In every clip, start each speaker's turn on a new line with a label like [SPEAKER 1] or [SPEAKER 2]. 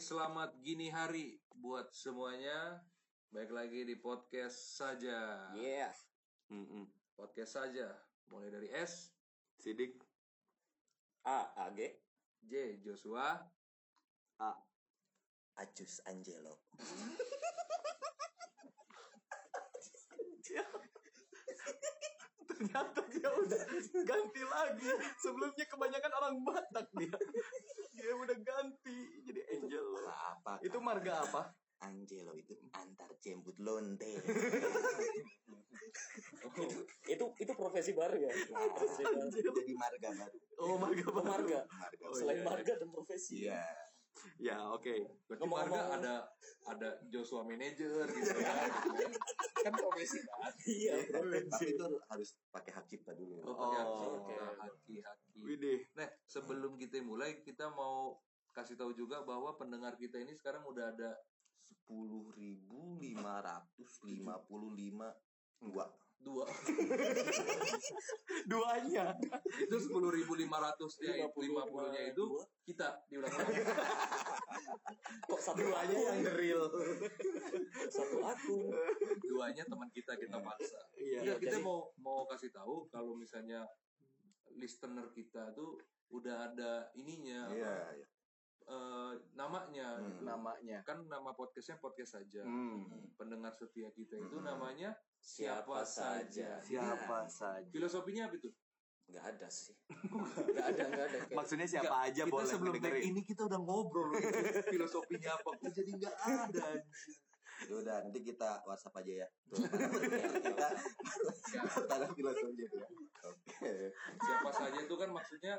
[SPEAKER 1] selamat gini hari buat semuanya. Baik lagi di podcast saja.
[SPEAKER 2] Yes.
[SPEAKER 3] Mm-mm.
[SPEAKER 1] Podcast saja. Mulai dari S,
[SPEAKER 3] Sidik
[SPEAKER 2] A AG
[SPEAKER 1] J, Joshua.
[SPEAKER 2] Acus Angelo.
[SPEAKER 3] ternyata dia udah ganti lagi. Sebelumnya kebanyakan orang Batak dia. Dia udah ganti jadi Angel.
[SPEAKER 2] Apa?
[SPEAKER 3] Itu marga apa?
[SPEAKER 2] Angelo itu antar jembut lonte.
[SPEAKER 4] itu itu profesi baru ya Profesi baru.
[SPEAKER 2] Jadi marga baru.
[SPEAKER 3] Oh, marga
[SPEAKER 4] Oh,
[SPEAKER 3] baru.
[SPEAKER 4] marga
[SPEAKER 2] Marga.
[SPEAKER 3] kan. Oh,
[SPEAKER 4] selain
[SPEAKER 3] iya.
[SPEAKER 4] marga dan profesi
[SPEAKER 2] Iya.
[SPEAKER 3] Ya, oke.
[SPEAKER 1] Berarti
[SPEAKER 4] Ngomong-ngomong-
[SPEAKER 1] marga ada ada Joshua manager gitu kan. kan profesi kan.
[SPEAKER 4] iya
[SPEAKER 2] Tapi itu harus pakai hak cipta dulu.
[SPEAKER 1] Oh, pakai
[SPEAKER 3] Oh,
[SPEAKER 1] haki,
[SPEAKER 4] oke.
[SPEAKER 1] haki, haki.
[SPEAKER 3] Widih.
[SPEAKER 1] Nah, sebelum kita mulai kita mau kasih tahu juga bahwa pendengar kita ini sekarang udah ada
[SPEAKER 2] Sepuluh ribu lima ratus lima puluh lima dua.
[SPEAKER 1] dua
[SPEAKER 3] Duanya.
[SPEAKER 1] itu sepuluh ribu lima ratus ya lima puluhnya itu
[SPEAKER 4] dua.
[SPEAKER 1] kita diulang lagi
[SPEAKER 4] kok satu
[SPEAKER 3] Duanya
[SPEAKER 4] akun
[SPEAKER 3] yang real.
[SPEAKER 4] satu akun
[SPEAKER 1] duanya teman kita kita paksa
[SPEAKER 3] Iya.
[SPEAKER 1] Iya, kita
[SPEAKER 4] jadi-
[SPEAKER 1] mau mau kasih tahu kalau misalnya listener kita tuh udah ada ininya
[SPEAKER 2] Iya.
[SPEAKER 1] eh, namanya
[SPEAKER 2] Hmm.
[SPEAKER 1] gitu.
[SPEAKER 3] Namanya.
[SPEAKER 1] kan nama podcastnya podcast saja
[SPEAKER 3] Hmm.
[SPEAKER 1] pendengar setia kita itu
[SPEAKER 2] Hmm.
[SPEAKER 1] namanya
[SPEAKER 4] siapa saja
[SPEAKER 3] Siapa saja.
[SPEAKER 1] filosofinya apa itu
[SPEAKER 4] nggak ada sih nggak ada nggak ada Kayak
[SPEAKER 3] Maksudnya siapa
[SPEAKER 1] Nggak,
[SPEAKER 3] aja
[SPEAKER 1] kita
[SPEAKER 3] Ya, boleh
[SPEAKER 1] sebelum tag
[SPEAKER 3] dengerin.
[SPEAKER 1] ini kita udah ngobrol loh, itu filosofinya apa Kok jadi nggak ada
[SPEAKER 2] Ya udah nanti kita WhatsApp aja ya. Tuh, kita tanah filosofi itu ya. Oke.
[SPEAKER 1] siapa saja itu kan maksudnya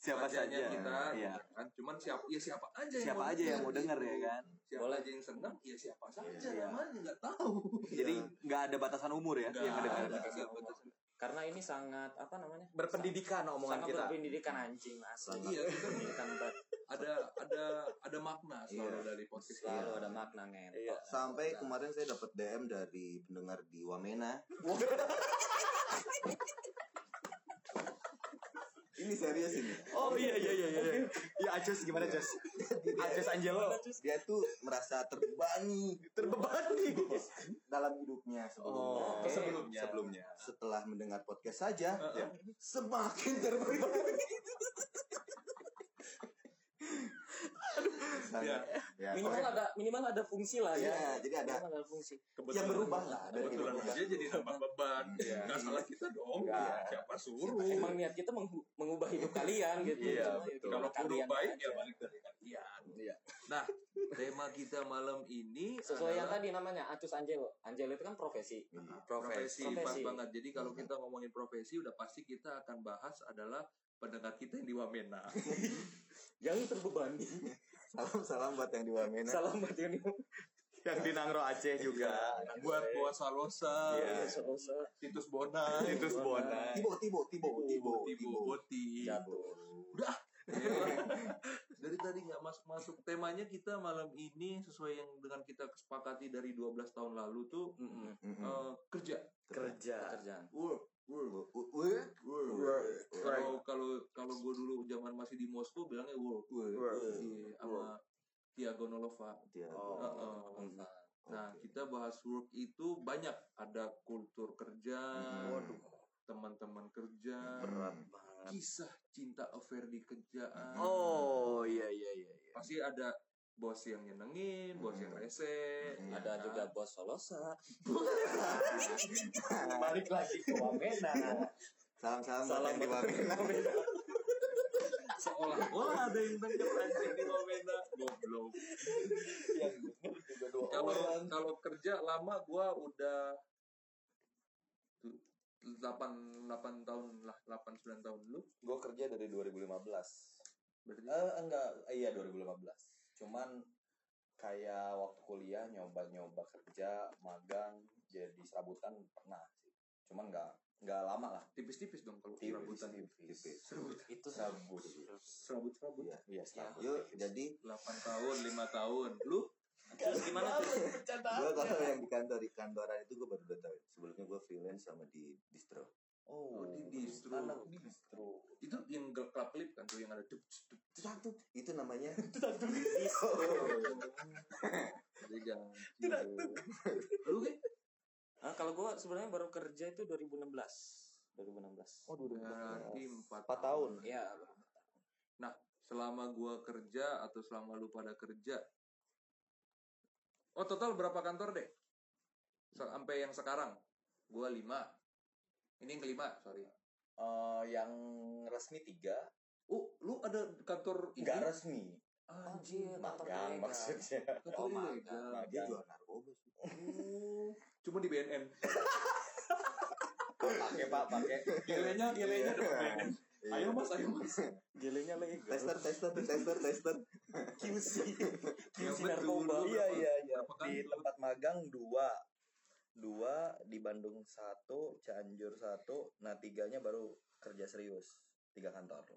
[SPEAKER 3] Siapa saja.
[SPEAKER 1] rajanya kita
[SPEAKER 3] Iya.
[SPEAKER 1] kan cuman siapa ya siapa aja yang
[SPEAKER 3] Siapa
[SPEAKER 1] mau
[SPEAKER 3] aja yang mau
[SPEAKER 1] dengar,
[SPEAKER 3] denger ya
[SPEAKER 1] gitu.
[SPEAKER 3] kan?
[SPEAKER 1] siapa
[SPEAKER 4] Boleh.
[SPEAKER 1] aja yang senang ya siapa saja
[SPEAKER 3] Iya.
[SPEAKER 1] namanya nggak tahu
[SPEAKER 3] Jadi nggak ada batasan umur ya yang
[SPEAKER 1] Nggak
[SPEAKER 3] ngedengerin.
[SPEAKER 1] ada,
[SPEAKER 4] ada.
[SPEAKER 1] nggak batasan.
[SPEAKER 4] karena ini sangat apa namanya
[SPEAKER 3] Berpendidikan omongan
[SPEAKER 4] sangat
[SPEAKER 3] kita.
[SPEAKER 4] berpendidikan anjing asli
[SPEAKER 1] Iya, kita
[SPEAKER 4] pendidikan banget.
[SPEAKER 1] ada ada ada makna selalu
[SPEAKER 2] Iya.
[SPEAKER 1] dari podcast ini.
[SPEAKER 4] selalu ada makna ngen
[SPEAKER 3] Iya.
[SPEAKER 2] Sampai kemarin saya dapat DM dari pendengar di Wamena. ini serius ini.
[SPEAKER 3] Oh iya iya iya iya. Ya Acus gimana Acus? Acus Angelo
[SPEAKER 2] Dia tuh merasa terbebani
[SPEAKER 3] terbebani.
[SPEAKER 2] dalam hidupnya sebelumnya.
[SPEAKER 3] Oh,
[SPEAKER 2] Eh,
[SPEAKER 1] sebelumnya.
[SPEAKER 2] sebelumnya. Setelah mendengar podcast saja,
[SPEAKER 1] Heeh.
[SPEAKER 2] ya, semakin terbebani. Sangat, ya,
[SPEAKER 4] minimal ada minimal ada fungsi lah ya
[SPEAKER 2] Ya, jadi ada-
[SPEAKER 4] Minimal ada fungsi
[SPEAKER 2] Ya, berubah lah, ada
[SPEAKER 1] kebetulan
[SPEAKER 2] berubah.
[SPEAKER 1] aja jadi tambah beban
[SPEAKER 2] Iya.
[SPEAKER 1] nggak salah kita dong
[SPEAKER 2] Nggak.
[SPEAKER 1] siapa suruh
[SPEAKER 4] emang niat kita menghu- mengubah hidup kalian gitu
[SPEAKER 3] Iya,
[SPEAKER 4] Cuma ya
[SPEAKER 3] betul.
[SPEAKER 4] gimana
[SPEAKER 1] kalau kudu
[SPEAKER 4] kalian
[SPEAKER 1] baik
[SPEAKER 4] aja.
[SPEAKER 1] ya balik dari kalian
[SPEAKER 2] Iya.
[SPEAKER 1] nah tema kita malam ini
[SPEAKER 4] sesuai yang
[SPEAKER 1] adalah
[SPEAKER 4] tadi namanya Acus Angelo Angelo itu kan profesi
[SPEAKER 1] profesi, pas
[SPEAKER 4] Profesi.
[SPEAKER 1] banget jadi kalau kita ngomongin profesi udah pasti kita akan bahas adalah pendengar kita yang di Wamena
[SPEAKER 4] yang terbebani
[SPEAKER 2] Salam-salam buat yang di Wamena.
[SPEAKER 4] salam buat yang
[SPEAKER 3] Yang di Nangro Aceh juga.
[SPEAKER 1] buat Boa Salosa
[SPEAKER 3] Iya.
[SPEAKER 1] Titus Bona
[SPEAKER 3] Itu Bona.
[SPEAKER 2] Tibo, Tibo, Tibo, Tibo,
[SPEAKER 1] Tibo
[SPEAKER 2] Tibo.
[SPEAKER 1] Boti
[SPEAKER 4] Iya.
[SPEAKER 1] dari tadi nggak masuk masuk temanya kita malam ini sesuai yang dengan kita kesepakati dari 12 tahun lalu tuh
[SPEAKER 2] Mm-mm.
[SPEAKER 1] eh, kerja
[SPEAKER 3] Kerja.
[SPEAKER 4] kerjaan
[SPEAKER 2] Work, work, work, work, work,
[SPEAKER 1] kalau kalau kalau gue dulu zaman masih di Moskow bilangnya work
[SPEAKER 2] work,
[SPEAKER 1] Di- sama Tiago Nolova
[SPEAKER 2] Dia-
[SPEAKER 3] Oh.
[SPEAKER 1] Heeh.
[SPEAKER 4] Hmm.
[SPEAKER 1] Nah,
[SPEAKER 2] Oke.
[SPEAKER 1] kita bahas work itu banyak ada kultur kerja,
[SPEAKER 2] Hmm. Waduh.
[SPEAKER 1] teman-teman kerja,
[SPEAKER 2] Berat
[SPEAKER 1] kisah cinta affair di kerjaan.
[SPEAKER 3] Oh iya iya iya. iya.
[SPEAKER 1] Pasti ada bos yang nyenengin, bos yang
[SPEAKER 2] Hmm.
[SPEAKER 1] rese,
[SPEAKER 2] Hmm.
[SPEAKER 1] ya
[SPEAKER 4] ada
[SPEAKER 1] kan?
[SPEAKER 3] Nah.
[SPEAKER 4] juga bos solosa
[SPEAKER 3] Balik lagi ke Wamena.
[SPEAKER 2] Salam-salam buat
[SPEAKER 4] salam
[SPEAKER 2] yang di
[SPEAKER 4] buat
[SPEAKER 2] Wamena.
[SPEAKER 1] seolah-olah ada yang tenggelam anjing di Wamena. Goblok. Kalau kalau kerja lama gua udah 8 8 tahun lah, 8 9 tahun lu.
[SPEAKER 2] Gue kerja dari 2015.
[SPEAKER 1] Berarti
[SPEAKER 2] Eh enggak, eh, iya 2015. Cuman kayak waktu kuliah nyoba-nyoba kerja, magang, jadi serabutan pernah sih. Cuman enggak enggak lama lah.
[SPEAKER 1] tipis-tipis dong kalau
[SPEAKER 2] Tipis,
[SPEAKER 1] serabutan.
[SPEAKER 2] tipis.
[SPEAKER 4] itu
[SPEAKER 2] Serabut.
[SPEAKER 1] Serabut-serabut.
[SPEAKER 2] Iya, serabut.
[SPEAKER 4] Yuk,
[SPEAKER 2] jadi
[SPEAKER 1] 8 tahun, 5 tahun. Lu
[SPEAKER 4] terus gimana tuh
[SPEAKER 2] gue kalau yang di kantor di kantoran itu gue baru dua tahun. Sebelumnya gue freelance sama di distro.
[SPEAKER 3] Oh,
[SPEAKER 1] di distro.
[SPEAKER 3] Anak distro.
[SPEAKER 1] Itu yang gel- club clip kan tuh yang ada dup, dup, dup.
[SPEAKER 3] Itu satu. Itu namanya.
[SPEAKER 1] Beda.
[SPEAKER 5] Tidak,
[SPEAKER 1] Lu Ki?
[SPEAKER 4] Ah, kalau gua sebenarnya baru kerja itu 2016. 2016.
[SPEAKER 3] Oh, dua
[SPEAKER 1] Berarti Nah, empat
[SPEAKER 3] Empat tahun.
[SPEAKER 4] Iya.
[SPEAKER 1] Selama gua kerja atau selama lu pada kerja. Oh, total berapa kantor deh? Sampai yang sekarang. Gua lima. Ini yang kelima, sorry.
[SPEAKER 3] Eh, yang resmi tiga.
[SPEAKER 1] Oh, lu ada kantor ini?
[SPEAKER 3] Enggak resmi.
[SPEAKER 1] Anjir.
[SPEAKER 3] Magang
[SPEAKER 4] ilegal.
[SPEAKER 3] maksudnya.
[SPEAKER 1] Kantor
[SPEAKER 5] Oh, magang.
[SPEAKER 1] ilegal. Oh.
[SPEAKER 5] Dia
[SPEAKER 3] Magang.
[SPEAKER 5] jual narkoba sih.
[SPEAKER 1] Cuma di BNN.
[SPEAKER 3] Pakai pak, pakai.
[SPEAKER 1] Gilenya, gilenya dong. Ayo
[SPEAKER 3] Iya.
[SPEAKER 1] mas, ayo mas.
[SPEAKER 4] Gelenya legal.
[SPEAKER 5] Tester, tester, tester, tester.
[SPEAKER 3] QC.
[SPEAKER 1] Yang
[SPEAKER 4] Kiusi
[SPEAKER 1] betul,
[SPEAKER 4] narkoba.
[SPEAKER 1] lu
[SPEAKER 3] Iya
[SPEAKER 1] berapa-
[SPEAKER 3] iya iya.
[SPEAKER 1] berapa
[SPEAKER 3] Di
[SPEAKER 1] kantor?
[SPEAKER 3] tempat magang dua. Dua di Bandung satu, Cianjur satu. Nah tiganya baru kerja serius. Tiga kantor.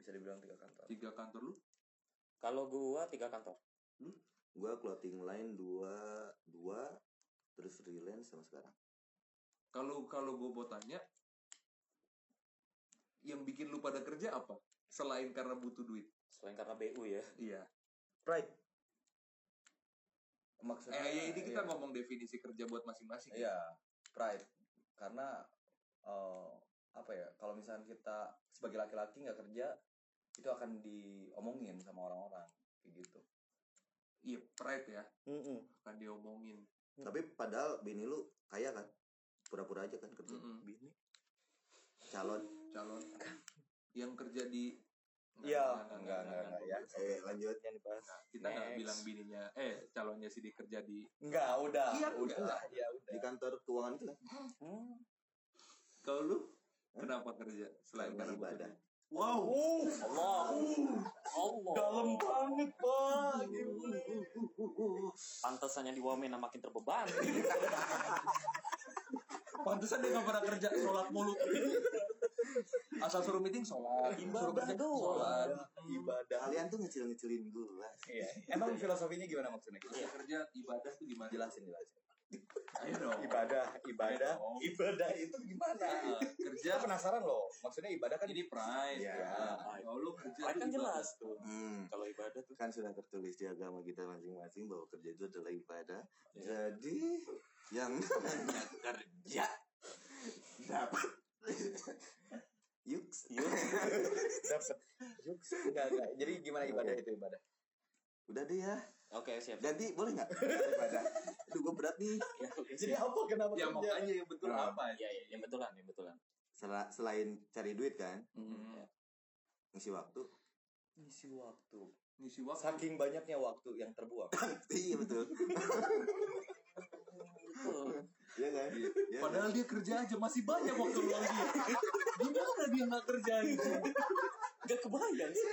[SPEAKER 3] Bisa dibilang tiga kantor.
[SPEAKER 1] Tiga kantor lu?
[SPEAKER 4] Kalau gua tiga kantor.
[SPEAKER 2] Gua clothing line dua dua terus freelance sama sekarang.
[SPEAKER 1] Kalau kalau gue mau tanya, yang bikin lu pada kerja apa? Selain karena butuh duit.
[SPEAKER 4] Selain karena BU ya.
[SPEAKER 1] Iya.
[SPEAKER 3] Pride. Maksudnya.
[SPEAKER 1] Eh, ya ini kita
[SPEAKER 3] iya.
[SPEAKER 1] ngomong definisi kerja buat masing-masing. ya.
[SPEAKER 3] Iya, pride. Karena eh, apa ya? Kalau misalnya kita sebagai laki-laki nggak kerja, itu akan diomongin sama orang-orang kayak gitu.
[SPEAKER 1] Iya, pride ya.
[SPEAKER 4] Mm-mm.
[SPEAKER 1] Kan diomongin.
[SPEAKER 2] Tapi padahal bini lu kaya kan? Pura-pura aja kan kerja.
[SPEAKER 1] Mm-mm.
[SPEAKER 2] Bini calon.
[SPEAKER 1] Calon yang kerja di
[SPEAKER 3] Iya,
[SPEAKER 1] Nggak, nggak,
[SPEAKER 3] enggak enggak enggak ya.
[SPEAKER 2] Eh lanjut.
[SPEAKER 3] Yang dibahas.
[SPEAKER 1] Nggak, kita nggak
[SPEAKER 4] Next.
[SPEAKER 1] bilang bininya eh calonnya sih dikerja di
[SPEAKER 3] Enggak, Nah, udah,
[SPEAKER 1] Iya,
[SPEAKER 3] udah,
[SPEAKER 1] enggak.
[SPEAKER 3] ya udah.
[SPEAKER 2] Di kantor keuangan itu kan?
[SPEAKER 4] Hmm.
[SPEAKER 1] kalau lu kenapa kerja selain
[SPEAKER 2] Karena
[SPEAKER 1] karena butuh
[SPEAKER 2] ibadah.
[SPEAKER 1] duit? wow
[SPEAKER 4] Allah. Allah. Uh, Dalam banget, Pak. Pantesannya di Wamena makin terbebani.
[SPEAKER 1] Pantesan dia gak pernah kerja sholat mulu. Asal suruh meeting sholat, suruh
[SPEAKER 4] Ibadah
[SPEAKER 1] kerja
[SPEAKER 4] doang.
[SPEAKER 1] sholat.
[SPEAKER 3] Iya. Ibadah.
[SPEAKER 2] Kalian tuh ngecil-ngecilin gua.
[SPEAKER 3] Iya. Emang filosofinya gimana maksudnya?
[SPEAKER 1] Iya. Kerja ibadah tuh gimana?
[SPEAKER 3] Jelasin, jelasin.
[SPEAKER 1] Ayo dong.
[SPEAKER 3] Ibadah,
[SPEAKER 1] Ayo
[SPEAKER 3] ibadah,
[SPEAKER 1] dong.
[SPEAKER 3] ibadah itu gimana?
[SPEAKER 1] Nah, kerja
[SPEAKER 3] Kita penasaran loh. Maksudnya ibadah kan
[SPEAKER 1] jadi pride. ya.
[SPEAKER 3] Iya.
[SPEAKER 1] Kalau lu kerja
[SPEAKER 4] Kan
[SPEAKER 1] tuh ibadah.
[SPEAKER 4] jelas tuh.
[SPEAKER 2] Hmm.
[SPEAKER 4] Kalau ibadah tuh.
[SPEAKER 2] kan sudah tertulis di agama kita masing-masing bahwa kerja itu adalah ibadah.
[SPEAKER 3] Ya.
[SPEAKER 2] Jadi yang namanya kerja dapat yuk
[SPEAKER 3] dapat. Enggak, enggak. Jadi gimana ibadah itu ibadah?
[SPEAKER 2] udah deh ya
[SPEAKER 4] Oke, siap.
[SPEAKER 2] ganti boleh nggak ibadah aduh gue berat nih
[SPEAKER 4] Ya, oke,
[SPEAKER 3] Jadi
[SPEAKER 4] siap.
[SPEAKER 3] apa kenapa
[SPEAKER 1] Ya
[SPEAKER 3] kerja?
[SPEAKER 1] makanya yang betul
[SPEAKER 2] Nah.
[SPEAKER 1] apa? ya?
[SPEAKER 4] Iya, iya, yang betulan, yang betulan.
[SPEAKER 2] Sel- selain cari duit kan
[SPEAKER 1] Mm.
[SPEAKER 2] ngisi waktu
[SPEAKER 3] Ngisi waktu.
[SPEAKER 1] Ngisi waktu.
[SPEAKER 3] Saking banyaknya waktu yang terbuang.
[SPEAKER 2] iya betul
[SPEAKER 4] Betul.
[SPEAKER 2] iya kan Iya kan?
[SPEAKER 1] Padahal dia kerja aja masih banyak waktu luang dia. Gimana dia nggak kerja itu?
[SPEAKER 4] Gak kebayang sih.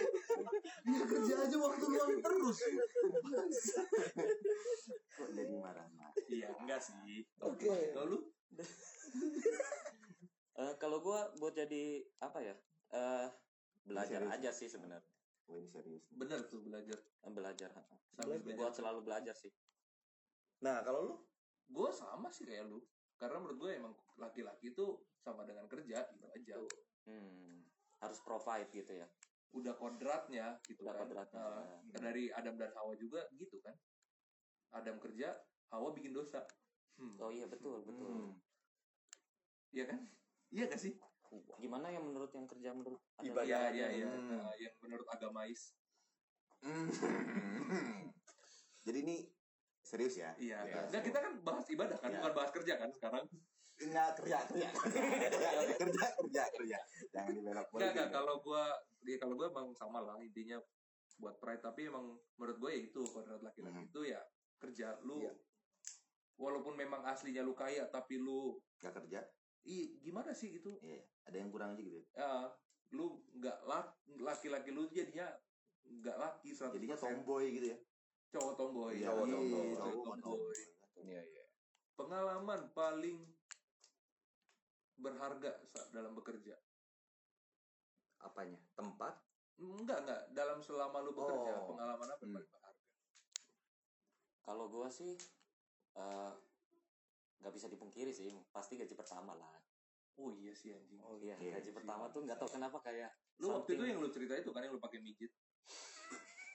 [SPEAKER 1] Dia kerja aja waktu luang terus.
[SPEAKER 2] kok jadi marah-marah
[SPEAKER 1] Iya, enggak sih.
[SPEAKER 3] Oke.
[SPEAKER 1] Kalau lu
[SPEAKER 4] Eh, kalau gua buat jadi apa ya? Eh belajar
[SPEAKER 2] Serius.
[SPEAKER 4] aja sih sebenarnya.
[SPEAKER 2] Wah, ini serius nih.
[SPEAKER 1] bener tuh belajar.
[SPEAKER 4] Eh, Belajar.
[SPEAKER 1] Sambil
[SPEAKER 3] Belajar.
[SPEAKER 4] Buat
[SPEAKER 1] belajar.
[SPEAKER 4] selalu belajar sih.
[SPEAKER 3] Nah, kalau lu
[SPEAKER 1] gue sama sih kayak lu karena menurut gue emang laki-laki tuh sama dengan kerja gitu aja
[SPEAKER 4] Hmm. Harus provide gitu ya.
[SPEAKER 1] udah kodratnya gitu
[SPEAKER 4] Udah
[SPEAKER 1] kan
[SPEAKER 4] kodratnya.
[SPEAKER 1] Eh, dari Adam dan Hawa juga gitu kan Adam kerja Hawa bikin dosa hmm.
[SPEAKER 4] Oh iya betul betul.
[SPEAKER 1] iya kan iya gak sih
[SPEAKER 4] Gimana yang menurut yang kerja menurut Anda?
[SPEAKER 3] Ibadah.
[SPEAKER 1] iya iya iya
[SPEAKER 2] Hmm.
[SPEAKER 1] Nah, yang menurut agamais
[SPEAKER 2] jadi ini serius ya
[SPEAKER 1] iya
[SPEAKER 3] Iya.
[SPEAKER 1] nah kita kan bahas ibadah kan
[SPEAKER 2] Iya.
[SPEAKER 1] bukan bahas kerja kan sekarang
[SPEAKER 2] Enggak kerja kerja kerja kerja kerja kerja jangan dibelok
[SPEAKER 1] Enggak, enggak. Kalau gue, ya kalau gue emang sama lah intinya buat pride. Tapi emang menurut gue ya itu kodrat laki-laki
[SPEAKER 2] Mhm.
[SPEAKER 1] itu ya kerja lu.
[SPEAKER 3] Iya.
[SPEAKER 1] Walaupun memang aslinya lu kaya, tapi lu
[SPEAKER 2] nggak kerja
[SPEAKER 1] i gimana sih gitu?
[SPEAKER 2] iya ada yang kurang aja gitu
[SPEAKER 1] Ya, lu nggak lak- laki-laki lu jadinya nggak laki 100%.
[SPEAKER 2] jadinya tomboy gitu ya
[SPEAKER 1] cowok tomboy.
[SPEAKER 2] Iya,
[SPEAKER 3] cowok
[SPEAKER 1] Iya,
[SPEAKER 3] tomboy.
[SPEAKER 1] cowok
[SPEAKER 2] cowok
[SPEAKER 1] tomboy.
[SPEAKER 2] tomboy.
[SPEAKER 3] Iya, iya.
[SPEAKER 1] Pengalaman paling berharga saat dalam bekerja.
[SPEAKER 3] Apanya? Tempat?
[SPEAKER 1] Enggak, enggak. Dalam selama lu bekerja,
[SPEAKER 3] Oh.
[SPEAKER 1] pengalaman apa yang
[SPEAKER 2] Hmm.
[SPEAKER 1] paling berharga?
[SPEAKER 4] Kalau gua sih eh, nggak bisa dipungkiri sih. Pasti gaji pertama lah.
[SPEAKER 1] Oh iya sih anjing.
[SPEAKER 4] Oh iya,
[SPEAKER 2] Iya.
[SPEAKER 4] gaji pertama tuh nggak tahu kenapa kayak
[SPEAKER 1] Lu waktu
[SPEAKER 4] something.
[SPEAKER 1] itu yang lu cerita itu kan yang lu pakai mijit.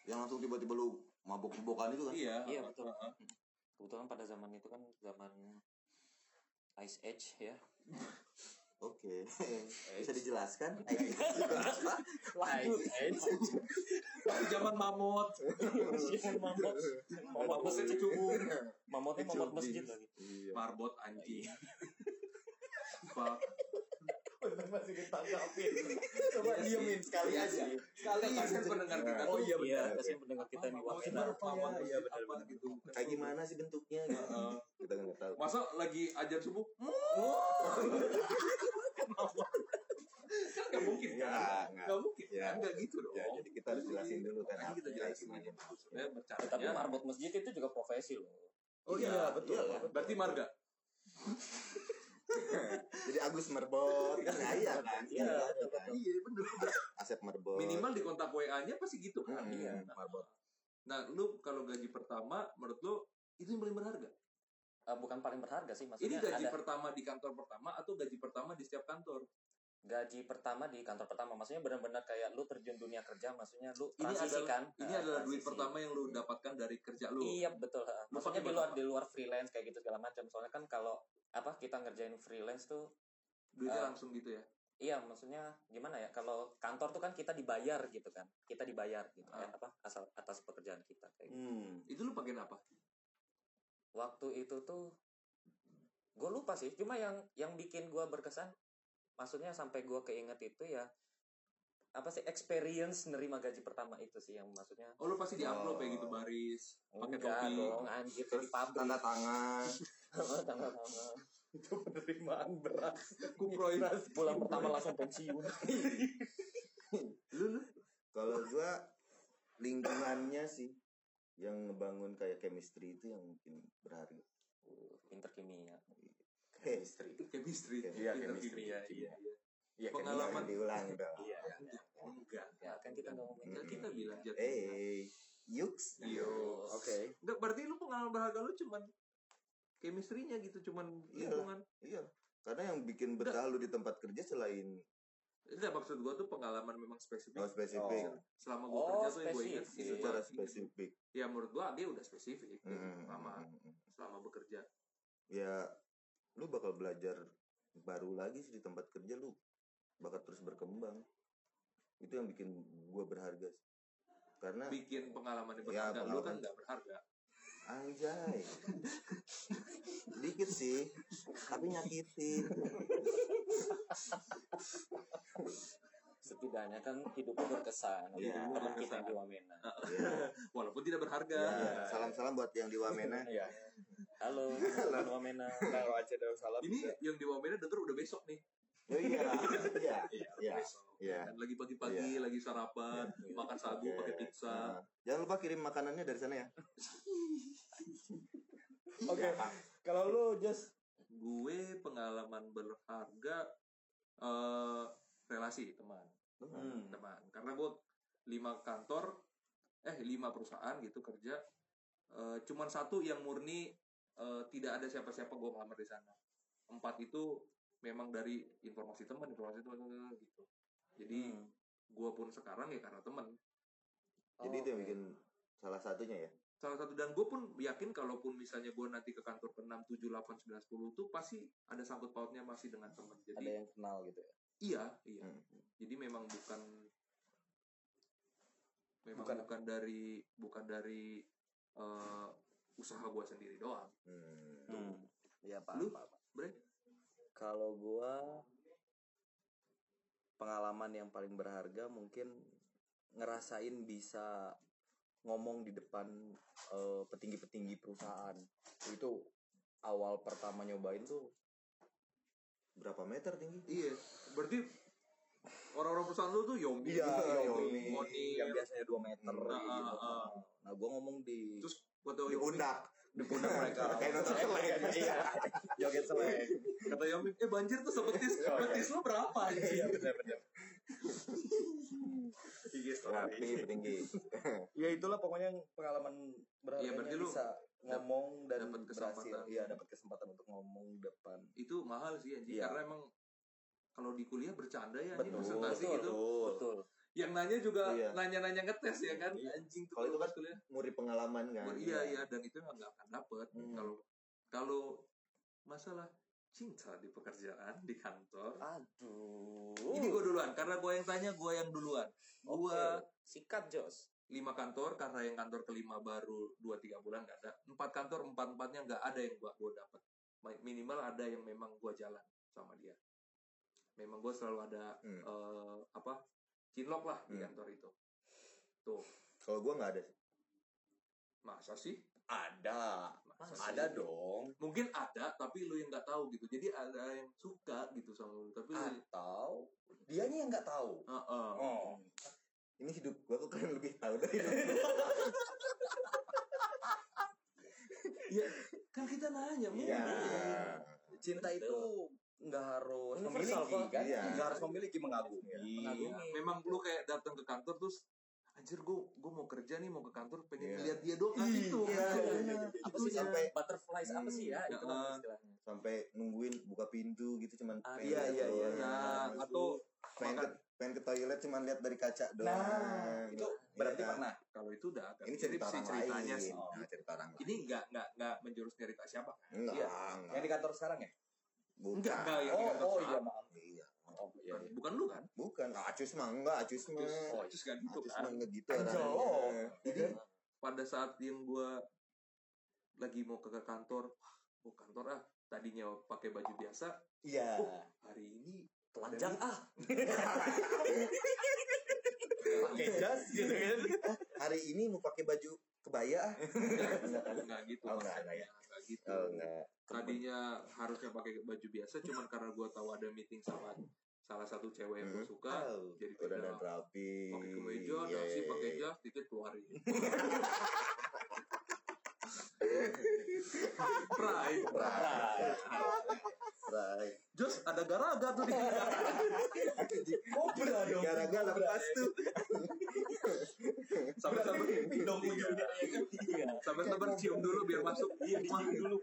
[SPEAKER 2] Yang langsung tiba-tiba lu mabok-mabokan itu kan?
[SPEAKER 1] Iya.
[SPEAKER 4] Iya,
[SPEAKER 1] apa-
[SPEAKER 4] betul.
[SPEAKER 1] apa-
[SPEAKER 4] kebetulan pada zaman itu kan zaman Ice Age ya.
[SPEAKER 2] Oke.
[SPEAKER 1] Eh.
[SPEAKER 2] Bisa dijelaskan? Kenapa?
[SPEAKER 4] Waduh,
[SPEAKER 1] Waktu zaman mamot. Iya.
[SPEAKER 4] mamot, mamot masjid itu. Mamotnya
[SPEAKER 2] Cubi.
[SPEAKER 4] mamot masjid lagi.
[SPEAKER 5] Oh,
[SPEAKER 2] Iya.
[SPEAKER 1] Marbot anjing. Pak,
[SPEAKER 5] iya, masih ditangkapin. Coba ya. diemin sekali aja.
[SPEAKER 3] Sekali
[SPEAKER 1] Iya,
[SPEAKER 3] aja
[SPEAKER 1] kan pendengar kita.
[SPEAKER 5] Oh iya
[SPEAKER 4] Iya,
[SPEAKER 5] benar.
[SPEAKER 4] kasihan pendengar kita ini
[SPEAKER 1] mamot
[SPEAKER 4] wamen.
[SPEAKER 1] baru
[SPEAKER 3] apa ya?
[SPEAKER 1] mamot
[SPEAKER 5] Iya,
[SPEAKER 1] iya
[SPEAKER 5] benar,
[SPEAKER 1] apa
[SPEAKER 5] benar.
[SPEAKER 1] gitu.
[SPEAKER 2] Kayak gimana sih bentuknya? gitu.
[SPEAKER 1] Heeh.
[SPEAKER 2] Kita nggak tahu.
[SPEAKER 1] Masa lagi ajar subuh? Kan nggak mungkin kan?
[SPEAKER 2] Iya, Nggak, nggak.
[SPEAKER 1] Nggak mungkin
[SPEAKER 2] Iya.
[SPEAKER 1] kan? Nggak gitu dong.
[SPEAKER 2] Ya, jadi kita harus jelasin dulu kan
[SPEAKER 1] Jadi kita
[SPEAKER 2] apa
[SPEAKER 1] Gitu, jelasin
[SPEAKER 2] gimana.
[SPEAKER 1] aja. Saya bercanda.
[SPEAKER 4] Tapi marbot masjid itu juga profesi loh.
[SPEAKER 5] Oh iya betul.
[SPEAKER 2] Iya, kan?
[SPEAKER 1] Berarti marga.
[SPEAKER 2] Jadi Agus merbot. Nah, iya kan?
[SPEAKER 4] Iya, betul,
[SPEAKER 2] kan?
[SPEAKER 1] Iya bener.
[SPEAKER 2] Asep merbot.
[SPEAKER 1] Minimal di kontak WA-nya pasti gitu kan?
[SPEAKER 2] Mm-mm,
[SPEAKER 1] Iya.
[SPEAKER 2] merbot.
[SPEAKER 1] Nah, lu kalau gaji pertama, menurut lu itu yang paling berharga?
[SPEAKER 4] Eh, bukan paling berharga sih
[SPEAKER 1] Ini
[SPEAKER 4] maksudnya
[SPEAKER 1] gaji
[SPEAKER 4] ada
[SPEAKER 1] pertama di kantor pertama atau gaji pertama di setiap kantor?
[SPEAKER 4] gaji pertama di kantor pertama maksudnya benar-benar kayak lu terjun dunia kerja maksudnya lu
[SPEAKER 1] Ini
[SPEAKER 4] transisi
[SPEAKER 1] adalah-
[SPEAKER 4] kan
[SPEAKER 1] Ini
[SPEAKER 4] Eh,
[SPEAKER 1] adalah duit
[SPEAKER 4] transisi.
[SPEAKER 1] pertama yang lu dapatkan dari kerja lu.
[SPEAKER 4] Iya betul. ha.
[SPEAKER 1] Lu pakai
[SPEAKER 4] Maksudnya di luar
[SPEAKER 1] buat apa?
[SPEAKER 4] di luar freelance kayak gitu segala macam. Soalnya kan kalau apa kita ngerjain freelance tuh
[SPEAKER 1] Duitnya
[SPEAKER 4] Ah.
[SPEAKER 1] langsung gitu ya.
[SPEAKER 4] iya maksudnya gimana ya kalau kantor tuh kan kita dibayar gitu kan. Kita dibayar gitu
[SPEAKER 1] Ah.
[SPEAKER 4] ya, apa asal atas pekerjaan kita kayak gitu.
[SPEAKER 2] Hmm.
[SPEAKER 1] Itu lu pakein apa?
[SPEAKER 4] Waktu itu tuh gue lupa sih. Cuma yang yang bikin gue berkesan maksudnya sampai gue keinget itu ya apa sih experience nerima gaji pertama itu sih yang maksudnya
[SPEAKER 1] Oh, lu pasti di-upload
[SPEAKER 2] Oh.
[SPEAKER 1] kayak gitu baris, pakai
[SPEAKER 4] enggak
[SPEAKER 1] topi.
[SPEAKER 4] dong anjir di
[SPEAKER 2] Terus tanda
[SPEAKER 4] pabrik
[SPEAKER 2] tangan.
[SPEAKER 4] Tanda tangan.
[SPEAKER 5] Itu penerimaan berat.
[SPEAKER 1] Kuproy.
[SPEAKER 4] pulang pertama langsung pensiun Uh,
[SPEAKER 1] Lu lu
[SPEAKER 2] Kalau gua lingkungannya sih yang ngebangun kayak chemistry itu yang mungkin berharga.
[SPEAKER 4] Uh, pinter kimia
[SPEAKER 2] Chemistry.
[SPEAKER 1] chemistry.
[SPEAKER 3] Iya,
[SPEAKER 1] Pinter
[SPEAKER 3] chemistry,
[SPEAKER 1] kimia,
[SPEAKER 3] iya.
[SPEAKER 1] iya.
[SPEAKER 2] Jangan
[SPEAKER 1] Pengalaman
[SPEAKER 2] diulangi dong.
[SPEAKER 3] Iya.
[SPEAKER 1] enggak.
[SPEAKER 4] ya kan kita nggak ngomongin
[SPEAKER 1] Kan
[SPEAKER 2] Mm-mm.
[SPEAKER 1] kita bilang jatuh.
[SPEAKER 2] Eh, yuks.
[SPEAKER 1] Yo.
[SPEAKER 2] Oke.
[SPEAKER 1] Enggak, berarti lu pengalaman berharga lu cuman chemistry-nya gitu, cuman
[SPEAKER 2] Iya.
[SPEAKER 1] lingkungan.
[SPEAKER 2] Iya. Karena yang bikin betah lu di tempat kerja selain
[SPEAKER 1] Enggak maksud gua tuh pengalaman memang
[SPEAKER 2] oh,
[SPEAKER 1] spesifik.
[SPEAKER 2] spesifik,
[SPEAKER 1] Selama gua
[SPEAKER 4] Oh,
[SPEAKER 1] kerja tuh yang gua ingat
[SPEAKER 4] spesifik.
[SPEAKER 1] itu
[SPEAKER 2] secara
[SPEAKER 1] gua-
[SPEAKER 2] spesifik.
[SPEAKER 1] Ya menurut gua dia udah spesifik
[SPEAKER 2] Mm,
[SPEAKER 1] selama
[SPEAKER 2] mm, mm.
[SPEAKER 1] selama bekerja.
[SPEAKER 2] Ya, lu bakal belajar baru lagi sih di tempat kerja lu bakal terus berkembang. Itu yang bikin gua berharga sih. Karena
[SPEAKER 1] Bikin pengalaman yang berharga. Lu
[SPEAKER 2] Ya,
[SPEAKER 1] kan
[SPEAKER 2] pengalaman.
[SPEAKER 1] enggak berharga.
[SPEAKER 2] Anjay. Dikit sih, tapi nyakitin.
[SPEAKER 4] setidaknya kan hidup lu berkesan
[SPEAKER 2] Iya.
[SPEAKER 4] Hidup lu berkesan
[SPEAKER 1] Berkesan.
[SPEAKER 4] di Wamena
[SPEAKER 2] Ya.
[SPEAKER 1] Walaupun tidak berharga.
[SPEAKER 2] Ya, Salam-salam buat yang di Wamena.
[SPEAKER 3] Iya.
[SPEAKER 4] halo teman Wamena
[SPEAKER 3] Kalau aja ada salam. Iya.
[SPEAKER 1] Ini
[SPEAKER 2] Iya.
[SPEAKER 1] yang di Wamena denger udah besok nih.
[SPEAKER 2] Oh iya, iya, iya,
[SPEAKER 1] Besok.
[SPEAKER 2] iya.
[SPEAKER 1] Kan lagi pagi-pagi, lagi sarapan, makan sagu,
[SPEAKER 2] Oke.
[SPEAKER 1] pakai pizza.
[SPEAKER 2] Nah, jangan lupa kirim makanannya dari sana ya.
[SPEAKER 5] Oke. Kalau lu just
[SPEAKER 1] Gue pengalaman berharga eh relasi teman.
[SPEAKER 4] Hmm.
[SPEAKER 2] Hmm, nah.
[SPEAKER 1] teman karena gue lima kantor eh lima perusahaan gitu kerja Eh, cuman satu yang murni eh, tidak ada siapa-siapa gue ngelamar di sana empat itu memang dari informasi teman informasi teman teman, teman, gitu jadi
[SPEAKER 3] Hmm.
[SPEAKER 2] Hmm.
[SPEAKER 1] gue pun sekarang ya karena teman
[SPEAKER 2] Jadi itu yang
[SPEAKER 4] Oh,
[SPEAKER 2] bikin salah satunya ya.
[SPEAKER 1] salah satu dan gue pun yakin kalaupun misalnya gue nanti ke kantor ke enam tujuh delapan sembilan sepuluh tuh pasti ada sangkut pautnya masih dengan teman jadi
[SPEAKER 3] Ada yang kenal gitu ya.
[SPEAKER 1] Iya, iya.
[SPEAKER 2] Hmm.
[SPEAKER 1] Jadi memang bukan memang bukan,
[SPEAKER 5] Bukan-
[SPEAKER 1] dari bukan dari eh, usaha gua sendiri doang.
[SPEAKER 2] Hmm.
[SPEAKER 3] Iya, Pak.
[SPEAKER 1] Lu?
[SPEAKER 3] Pak, Pak.
[SPEAKER 1] Bre?
[SPEAKER 3] Kalau gua pengalaman yang paling berharga mungkin ngerasain bisa ngomong di depan eh, petinggi-petinggi perusahaan. Itu awal pertama nyobain tuh
[SPEAKER 2] Berapa meter tinggi?
[SPEAKER 1] Iya. Berarti orang-orang perusahaan lu tuh Yomi, gitu ya,
[SPEAKER 3] Iya,
[SPEAKER 2] Yomi.
[SPEAKER 1] Yomi, Oni,
[SPEAKER 3] yang biasanya 2 meter
[SPEAKER 1] Nah,
[SPEAKER 3] gitu.
[SPEAKER 1] ah, ah.
[SPEAKER 3] Nah, gua ngomong di
[SPEAKER 1] terus gua tau
[SPEAKER 2] Di
[SPEAKER 1] Yomi,
[SPEAKER 2] pundak.
[SPEAKER 3] di pundak mereka.
[SPEAKER 2] Kayak nonton
[SPEAKER 3] Iya, iya. Joget seleng.
[SPEAKER 1] kata Yomi, eh banjir tuh sebetis,
[SPEAKER 3] Oh, iya.
[SPEAKER 1] betis lu berapa anjing?
[SPEAKER 3] Iya, benar-benar.
[SPEAKER 2] Rapi, tinggi.
[SPEAKER 3] ya itulah pokoknya yang pengalaman berharganya
[SPEAKER 1] Iya, berarti lu
[SPEAKER 3] bisa ngomong dan
[SPEAKER 1] dapat
[SPEAKER 3] berhasil
[SPEAKER 1] kesempatan.
[SPEAKER 3] iya dapat kesempatan untuk ngomong depan
[SPEAKER 1] Itu mahal sih anjing
[SPEAKER 3] Iya.
[SPEAKER 1] karena emang kalau di kuliah bercanda ya anjing
[SPEAKER 3] Betul,
[SPEAKER 1] presentasi
[SPEAKER 4] betul.
[SPEAKER 1] gitu
[SPEAKER 4] betul
[SPEAKER 1] yang nanya juga
[SPEAKER 2] Iya.
[SPEAKER 1] nanya-nanya ngetes ya kan
[SPEAKER 2] Iya.
[SPEAKER 1] anjing tuh
[SPEAKER 2] Kalau itu
[SPEAKER 1] pas
[SPEAKER 2] kan
[SPEAKER 1] kuliah
[SPEAKER 2] muri pengalaman kan
[SPEAKER 1] Oh, iya iya dan itu emang nggak akan dapet
[SPEAKER 2] Hmm.
[SPEAKER 1] kalau kalau masalah cinta di pekerjaan di kantor
[SPEAKER 3] Ah,
[SPEAKER 4] aduh
[SPEAKER 2] Uh.
[SPEAKER 1] ini gue duluan karena gue yang tanya gue yang duluan
[SPEAKER 4] Oke,
[SPEAKER 1] gue
[SPEAKER 4] sikat Jos
[SPEAKER 1] lima kantor karena yang kantor kelima baru dua tiga bulan nggak ada empat kantor empat empatnya nggak ada yang gua gua dapat minimal ada yang memang gua jalan sama dia memang gua selalu ada
[SPEAKER 2] Hmm.
[SPEAKER 1] eh, apa cinlok lah di
[SPEAKER 2] Hmm.
[SPEAKER 1] kantor itu tuh
[SPEAKER 2] kalau gue nggak ada
[SPEAKER 1] masa sih
[SPEAKER 3] Ada,
[SPEAKER 1] Masa sih?
[SPEAKER 3] ada dong.
[SPEAKER 1] mungkin ada tapi lu yang nggak tahu gitu jadi ada yang suka gitu sama lu tapi
[SPEAKER 2] Ah.
[SPEAKER 1] lu
[SPEAKER 3] Atau dianya yang nggak tahu.
[SPEAKER 1] Ah, ah.
[SPEAKER 3] Oh,
[SPEAKER 2] ini hidup gue kok kalian lebih tahu dari hidup gua.
[SPEAKER 1] ya kan kita nanya mungkin gitu.
[SPEAKER 2] iya
[SPEAKER 3] cinta itu nggak harus
[SPEAKER 4] Universal,
[SPEAKER 3] memiliki
[SPEAKER 4] kok.
[SPEAKER 3] kan?
[SPEAKER 2] Iya.
[SPEAKER 3] Nggak harus memiliki mengagumi.
[SPEAKER 4] Mengagumi.
[SPEAKER 1] Iya, memang lu kayak datang ke kantor terus anjir gue gue mau kerja nih mau ke kantor pengen
[SPEAKER 2] Iya.
[SPEAKER 1] lihat dia doang kan itu
[SPEAKER 2] Iya,
[SPEAKER 1] kan.
[SPEAKER 2] iya.
[SPEAKER 4] apa sih
[SPEAKER 2] sampai
[SPEAKER 4] butterflies apa sih ya itu
[SPEAKER 1] Hmm.
[SPEAKER 4] namanya istilahnya
[SPEAKER 2] sampai nungguin buka pintu gitu cuman
[SPEAKER 4] Ah,
[SPEAKER 2] pengen
[SPEAKER 4] iya,
[SPEAKER 2] lihat
[SPEAKER 4] iya,
[SPEAKER 2] doang.
[SPEAKER 1] iya. Nah, atau
[SPEAKER 2] pengen ke, pengen ke toilet cuman lihat dari kaca doang
[SPEAKER 3] Nah, itu
[SPEAKER 2] Iya
[SPEAKER 3] berarti
[SPEAKER 2] kan?
[SPEAKER 3] pernah.
[SPEAKER 1] kalau itu udah agak
[SPEAKER 2] ini
[SPEAKER 1] mirip
[SPEAKER 2] cerita
[SPEAKER 1] sih
[SPEAKER 2] orang
[SPEAKER 1] ceritanya Iya.
[SPEAKER 2] lain
[SPEAKER 1] sih
[SPEAKER 2] Nah, cerita orang lain
[SPEAKER 1] ini nggak nggak nggak menjurus nyerita siapa
[SPEAKER 2] enggak
[SPEAKER 3] Iya.
[SPEAKER 2] enggak
[SPEAKER 3] Yang di kantor sekarang ya?
[SPEAKER 2] bukan
[SPEAKER 1] Enggak, enggak, ya, gitu. yang di
[SPEAKER 3] Oh,
[SPEAKER 1] kantor
[SPEAKER 3] oh iya
[SPEAKER 1] sekarang.
[SPEAKER 3] maaf.
[SPEAKER 2] Ah. Iya.
[SPEAKER 3] Oh iya. iya.
[SPEAKER 1] bukan lu kan
[SPEAKER 2] bukan acus mah enggak acus mah
[SPEAKER 1] terus oh, terus kan gitu
[SPEAKER 2] acus
[SPEAKER 1] kan
[SPEAKER 2] mah enggak gitu
[SPEAKER 3] Anjol.
[SPEAKER 2] orangnya.
[SPEAKER 1] jadi pada saat yang gua lagi mau ke ke kantor wah mau kantor ah tadinya pakai baju biasa
[SPEAKER 2] iya
[SPEAKER 3] Oh,
[SPEAKER 1] hari ini
[SPEAKER 4] telanjang ah
[SPEAKER 3] Pakai jas gitu kan?
[SPEAKER 2] hari ini mau pakai baju kebaya ah.
[SPEAKER 1] enggak enggak gitu
[SPEAKER 2] Oh, enggak,
[SPEAKER 1] maksudnya.
[SPEAKER 2] enggak ya.
[SPEAKER 1] Enggak gitu
[SPEAKER 2] oh enggak
[SPEAKER 1] tadinya harusnya pakai baju biasa cuman karena gua tahu ada meeting sama salah satu cewek yang gua
[SPEAKER 2] Hmm.
[SPEAKER 1] suka
[SPEAKER 2] Oh,
[SPEAKER 1] jadi
[SPEAKER 2] udah
[SPEAKER 1] beda.
[SPEAKER 2] dan rapi
[SPEAKER 1] pakai kemeja
[SPEAKER 2] Iya,
[SPEAKER 1] nasi
[SPEAKER 2] iya,
[SPEAKER 1] pakai
[SPEAKER 2] iya.
[SPEAKER 1] jas dikit keluarin Prai,
[SPEAKER 2] Right.
[SPEAKER 1] Jos ada garaga tuh di
[SPEAKER 3] Kobra dong.
[SPEAKER 2] gara-gara lepas tuh
[SPEAKER 1] sampai sampai
[SPEAKER 3] dong ujungnya.
[SPEAKER 1] sampai sampai Iya. cium dulu biar masuk iya cium dulu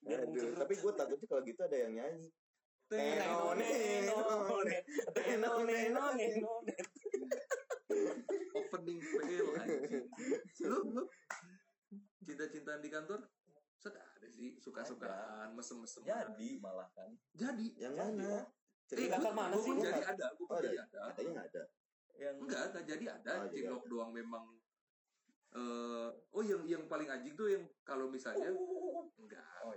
[SPEAKER 4] Biar
[SPEAKER 2] Aduh,
[SPEAKER 4] mungkin-
[SPEAKER 2] tapi gue takutnya kalau gitu ada yang nyanyi
[SPEAKER 4] Neno, neno, neno, neno, neno, neno.
[SPEAKER 1] opening fail anjing lu lu cinta-cintaan di kantor set ada sih suka-sukaan mesem-mesem
[SPEAKER 3] Jadi malah kan.
[SPEAKER 1] jadi
[SPEAKER 2] yang
[SPEAKER 3] Jadi,
[SPEAKER 2] mana
[SPEAKER 1] eh
[SPEAKER 2] cerita
[SPEAKER 4] Di kantor mana
[SPEAKER 1] gue
[SPEAKER 4] sih?
[SPEAKER 1] pun jadi ada gue pun
[SPEAKER 2] Oh, ada.
[SPEAKER 1] jadi ada
[SPEAKER 2] katanya nggak ada
[SPEAKER 3] Yang
[SPEAKER 1] enggak enggak jadi ada
[SPEAKER 2] Oh, jadi
[SPEAKER 1] cilok doang memang eh oh yang yang paling anjing tuh yang kalau misalnya enggak
[SPEAKER 3] Oh.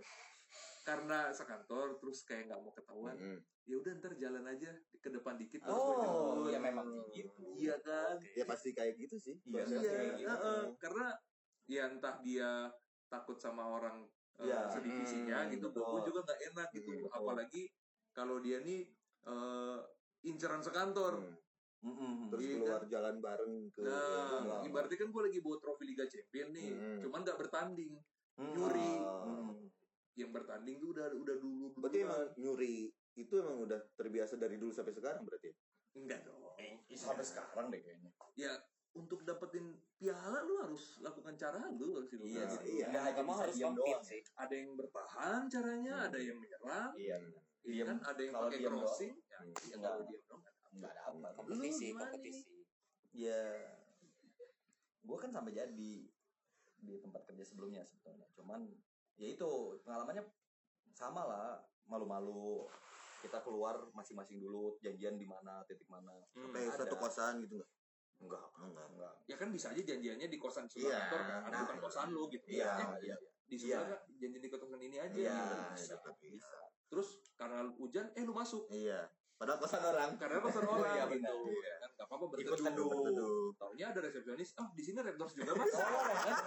[SPEAKER 1] karena sekantor terus kayak nggak mau ketahuan
[SPEAKER 2] Mm-mm.
[SPEAKER 1] ya udah ntar jalan aja ke depan dikit baru gue
[SPEAKER 3] Oh,
[SPEAKER 1] jemput.
[SPEAKER 3] ya memang gitu.
[SPEAKER 1] iya kan
[SPEAKER 2] ya pasti kayak gitu sih
[SPEAKER 3] Iya,
[SPEAKER 2] Prosesnya
[SPEAKER 1] iya,
[SPEAKER 2] kayak
[SPEAKER 3] gitu.
[SPEAKER 1] heeh. karena ya entah dia takut sama orang eh,
[SPEAKER 3] Iya,
[SPEAKER 1] sedivisinya
[SPEAKER 2] hmm,
[SPEAKER 1] gitu,
[SPEAKER 2] betul.
[SPEAKER 1] gue juga nggak enak gitu.
[SPEAKER 2] Hmm, betul.
[SPEAKER 1] Apalagi kalau dia nih eh, inceran sekantor.
[SPEAKER 2] Hmm.
[SPEAKER 3] Mm-mm.
[SPEAKER 2] terus
[SPEAKER 1] Iya,
[SPEAKER 2] keluar jalan bareng ke
[SPEAKER 1] Nah,
[SPEAKER 2] Iya.
[SPEAKER 1] ibaratnya kan gue lagi bawa trofi Liga Champion nih,
[SPEAKER 2] Hmm.
[SPEAKER 1] cuman nggak bertanding.
[SPEAKER 3] Mm.
[SPEAKER 1] nyuri.
[SPEAKER 2] Ah.
[SPEAKER 3] Mm.
[SPEAKER 1] Yang bertanding tuh udah udah dulu.
[SPEAKER 2] berarti
[SPEAKER 1] duluan.
[SPEAKER 2] emang nyuri itu emang udah terbiasa dari dulu sampai sekarang berarti
[SPEAKER 1] enggak dong.
[SPEAKER 3] Eh, Sampai sekarang deh kayaknya.
[SPEAKER 1] Ya untuk dapetin piala lu harus lakukan cara lu harus dilakukan.
[SPEAKER 2] Iya
[SPEAKER 1] Gitu.
[SPEAKER 2] sih, iya.
[SPEAKER 3] Nggak hanya
[SPEAKER 4] Kamu
[SPEAKER 3] bisa
[SPEAKER 4] harus
[SPEAKER 3] diam
[SPEAKER 4] compete
[SPEAKER 3] doang.
[SPEAKER 4] sih.
[SPEAKER 1] Ada yang bertahan caranya,
[SPEAKER 2] Hmm.
[SPEAKER 1] ada yang menyerang,
[SPEAKER 3] Iya.
[SPEAKER 1] iya
[SPEAKER 3] Diem.
[SPEAKER 1] kan? Ada yang
[SPEAKER 3] Kalau
[SPEAKER 1] pakai
[SPEAKER 3] diem doang.
[SPEAKER 1] crossing, ya,
[SPEAKER 2] Hmm.
[SPEAKER 1] ya nggak lu diem dong.
[SPEAKER 3] Enggak ada apa.
[SPEAKER 4] Kompetisi,
[SPEAKER 1] gimana
[SPEAKER 4] kompetisi.
[SPEAKER 3] Ya, gue kan sampai jadi di tempat kerja sebelumnya sebetulnya. Cuman ya itu pengalamannya sama lah, malu-malu. Kita keluar masing-masing dulu, janjian di mana, titik mana.
[SPEAKER 1] Hmm.
[SPEAKER 2] kayak
[SPEAKER 3] Ada.
[SPEAKER 2] satu kosan gitu nggak enggak enggak
[SPEAKER 3] Enggak.
[SPEAKER 1] ya kan bisa aja janjiannya di kosan sebelah
[SPEAKER 2] Iya.
[SPEAKER 1] kantor kan
[SPEAKER 2] Nah.
[SPEAKER 1] bukan kosan lu gitu
[SPEAKER 3] Iya,
[SPEAKER 1] Maksudnya,
[SPEAKER 3] iya.
[SPEAKER 1] di sebelah kan janjian di kosan ini aja
[SPEAKER 2] iya
[SPEAKER 1] gitu.
[SPEAKER 2] iya, tetap bisa
[SPEAKER 1] terus karena hujan eh lu masuk
[SPEAKER 2] iya padahal kosan orang
[SPEAKER 1] karena kosan orang
[SPEAKER 3] Iya,
[SPEAKER 1] gitu
[SPEAKER 3] benar.
[SPEAKER 1] Ya kan gak apa-apa
[SPEAKER 3] Ikut
[SPEAKER 1] berteduh
[SPEAKER 3] teduh.
[SPEAKER 2] Berteduh.
[SPEAKER 1] taunya ada resepsionis ah di sini red doors juga mas
[SPEAKER 3] Oh,
[SPEAKER 1] ya kan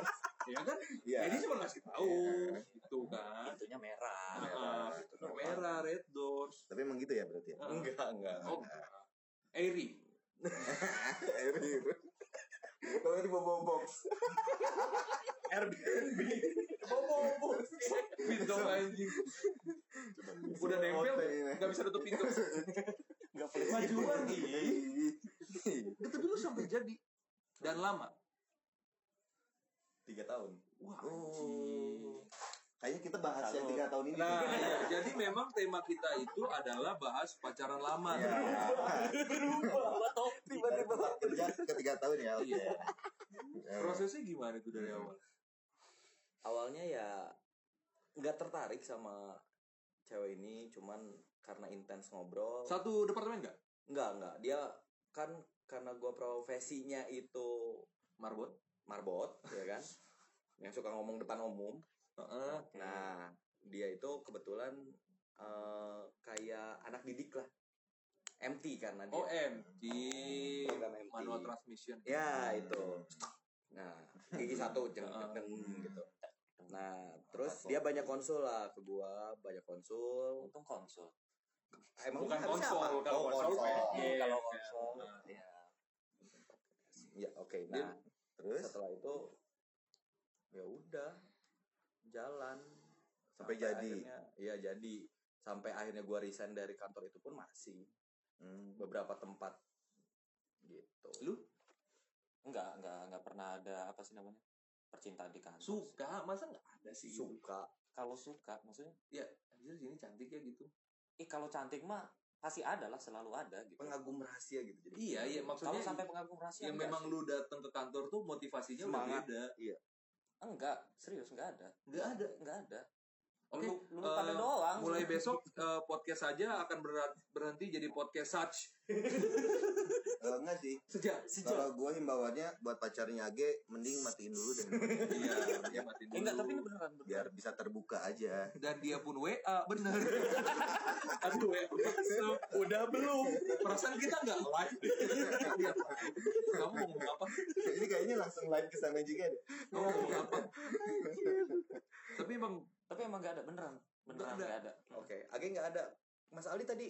[SPEAKER 1] ya kan
[SPEAKER 2] iya
[SPEAKER 1] jadi cuma ngasih tahu
[SPEAKER 2] Iya.
[SPEAKER 1] gitu kan
[SPEAKER 3] Iya.
[SPEAKER 4] Pintunya merah.
[SPEAKER 1] Ah,
[SPEAKER 2] Tetap
[SPEAKER 1] merah red doors
[SPEAKER 2] Tapi emang gitu ya berarti ya?
[SPEAKER 1] Ah.
[SPEAKER 3] Enggak, enggak.
[SPEAKER 1] oh enggak. Airy
[SPEAKER 2] Air Kalau di bobo box.
[SPEAKER 3] Airbnb. Bobo.
[SPEAKER 1] pintu anjing udah nempel nggak bisa tutup pintu
[SPEAKER 2] Enggak boleh
[SPEAKER 3] Majuan,
[SPEAKER 1] itu iya. dulu sampai jadi dan lama
[SPEAKER 3] Tiga tahun.
[SPEAKER 1] wah
[SPEAKER 2] Oh.
[SPEAKER 1] anjing
[SPEAKER 2] Kayaknya kita bahas yang
[SPEAKER 3] Selalu.
[SPEAKER 2] tiga tahun ini.
[SPEAKER 1] Nah, iya. jadi memang tema kita itu adalah bahas pacaran lama.
[SPEAKER 3] Ya.
[SPEAKER 2] Iya.
[SPEAKER 4] Berubah topik
[SPEAKER 3] Tiba-tiba kerja ketiga tahun ya. Oke.
[SPEAKER 1] Iya. Prosesnya gimana itu dari awal?
[SPEAKER 3] awalnya ya nggak tertarik sama cewek ini cuman karena intens ngobrol
[SPEAKER 1] Satu departemen nggak?
[SPEAKER 3] nggak nggak dia kan karena gua profesinya itu
[SPEAKER 1] Marbot?
[SPEAKER 3] marbot ya kan yang suka ngomong depan umum
[SPEAKER 1] Heeh.
[SPEAKER 3] nah dia itu kebetulan eh, kayak anak didik lah MT karena dia
[SPEAKER 1] Oh, OMG.
[SPEAKER 3] Program MT.
[SPEAKER 1] Manual transmission.
[SPEAKER 3] ya itu nah gigi satu jeng,
[SPEAKER 1] Heeh.
[SPEAKER 3] jeng, jeng, gitu nah terus dia banyak konsul lah ke gua banyak konsul Eh,
[SPEAKER 4] Untung konsul.
[SPEAKER 3] emang
[SPEAKER 1] Bukan
[SPEAKER 3] harusnya
[SPEAKER 1] konsol,
[SPEAKER 3] apa?
[SPEAKER 1] kalau
[SPEAKER 3] Oh,
[SPEAKER 1] konsol
[SPEAKER 4] Eh,
[SPEAKER 1] Iya,
[SPEAKER 4] kalau
[SPEAKER 1] iya.
[SPEAKER 4] konsul.
[SPEAKER 3] Iya. Ya, oke. Nah,
[SPEAKER 2] Terus
[SPEAKER 3] setelah itu ya udah jalan
[SPEAKER 2] Sampai jadi.
[SPEAKER 3] akhirnya- Iya, jadi sampai akhirnya gua resign dari kantor itu pun masih
[SPEAKER 2] Hmm,
[SPEAKER 3] beberapa tempat gitu.
[SPEAKER 1] Lu
[SPEAKER 4] Enggak, enggak, enggak pernah ada apa sih namanya? Percintaan di kantor.
[SPEAKER 1] suka masa nggak ada sih gitu?
[SPEAKER 3] suka
[SPEAKER 4] Kalau suka maksudnya
[SPEAKER 1] Anjir sini cantik ya gitu.
[SPEAKER 4] Ih kalau cantik mah pasti ada lah selalu ada gitu.
[SPEAKER 2] pengagum rahasia gitu jadi.
[SPEAKER 1] Iya, iya
[SPEAKER 4] Kalau
[SPEAKER 1] maksudnya
[SPEAKER 4] sampai pengagum rahasia
[SPEAKER 1] yang
[SPEAKER 4] enggak
[SPEAKER 1] memang
[SPEAKER 4] sih.
[SPEAKER 1] lu datang ke kantor tuh motivasinya udah
[SPEAKER 2] Semangat.
[SPEAKER 1] beda.
[SPEAKER 4] Ah, enggak serius enggak ada
[SPEAKER 1] Nggak ada.
[SPEAKER 4] enggak ada
[SPEAKER 1] Oke,
[SPEAKER 4] lu, lu
[SPEAKER 1] eh,
[SPEAKER 4] pada doang
[SPEAKER 1] Mulai besok eh, podcast saja akan berat- berhenti jadi podcast such
[SPEAKER 2] Eh, enggak sih.
[SPEAKER 1] sejak
[SPEAKER 2] Kalau gue himbauannya buat pacarnya Age mending matiin dulu dan
[SPEAKER 1] Iya, dia matiin
[SPEAKER 4] Eh, enggak
[SPEAKER 1] dulu.
[SPEAKER 4] tapi ini beneran beneran
[SPEAKER 2] biar bisa terbuka aja.
[SPEAKER 1] dan dia pun WA bener aduh WA masuk. udah belum perasaan kita nggak live Dia, kamu mau ngomong apa
[SPEAKER 2] Ini kayaknya langsung live ke sana juga deh.
[SPEAKER 1] kamu mau ngomong apa tapi emang
[SPEAKER 4] tapi emang enggak ada beneran
[SPEAKER 1] Nggak ada.
[SPEAKER 4] beneran enggak ada,
[SPEAKER 3] Oke, Age nggak ada. Mas Aldi tadi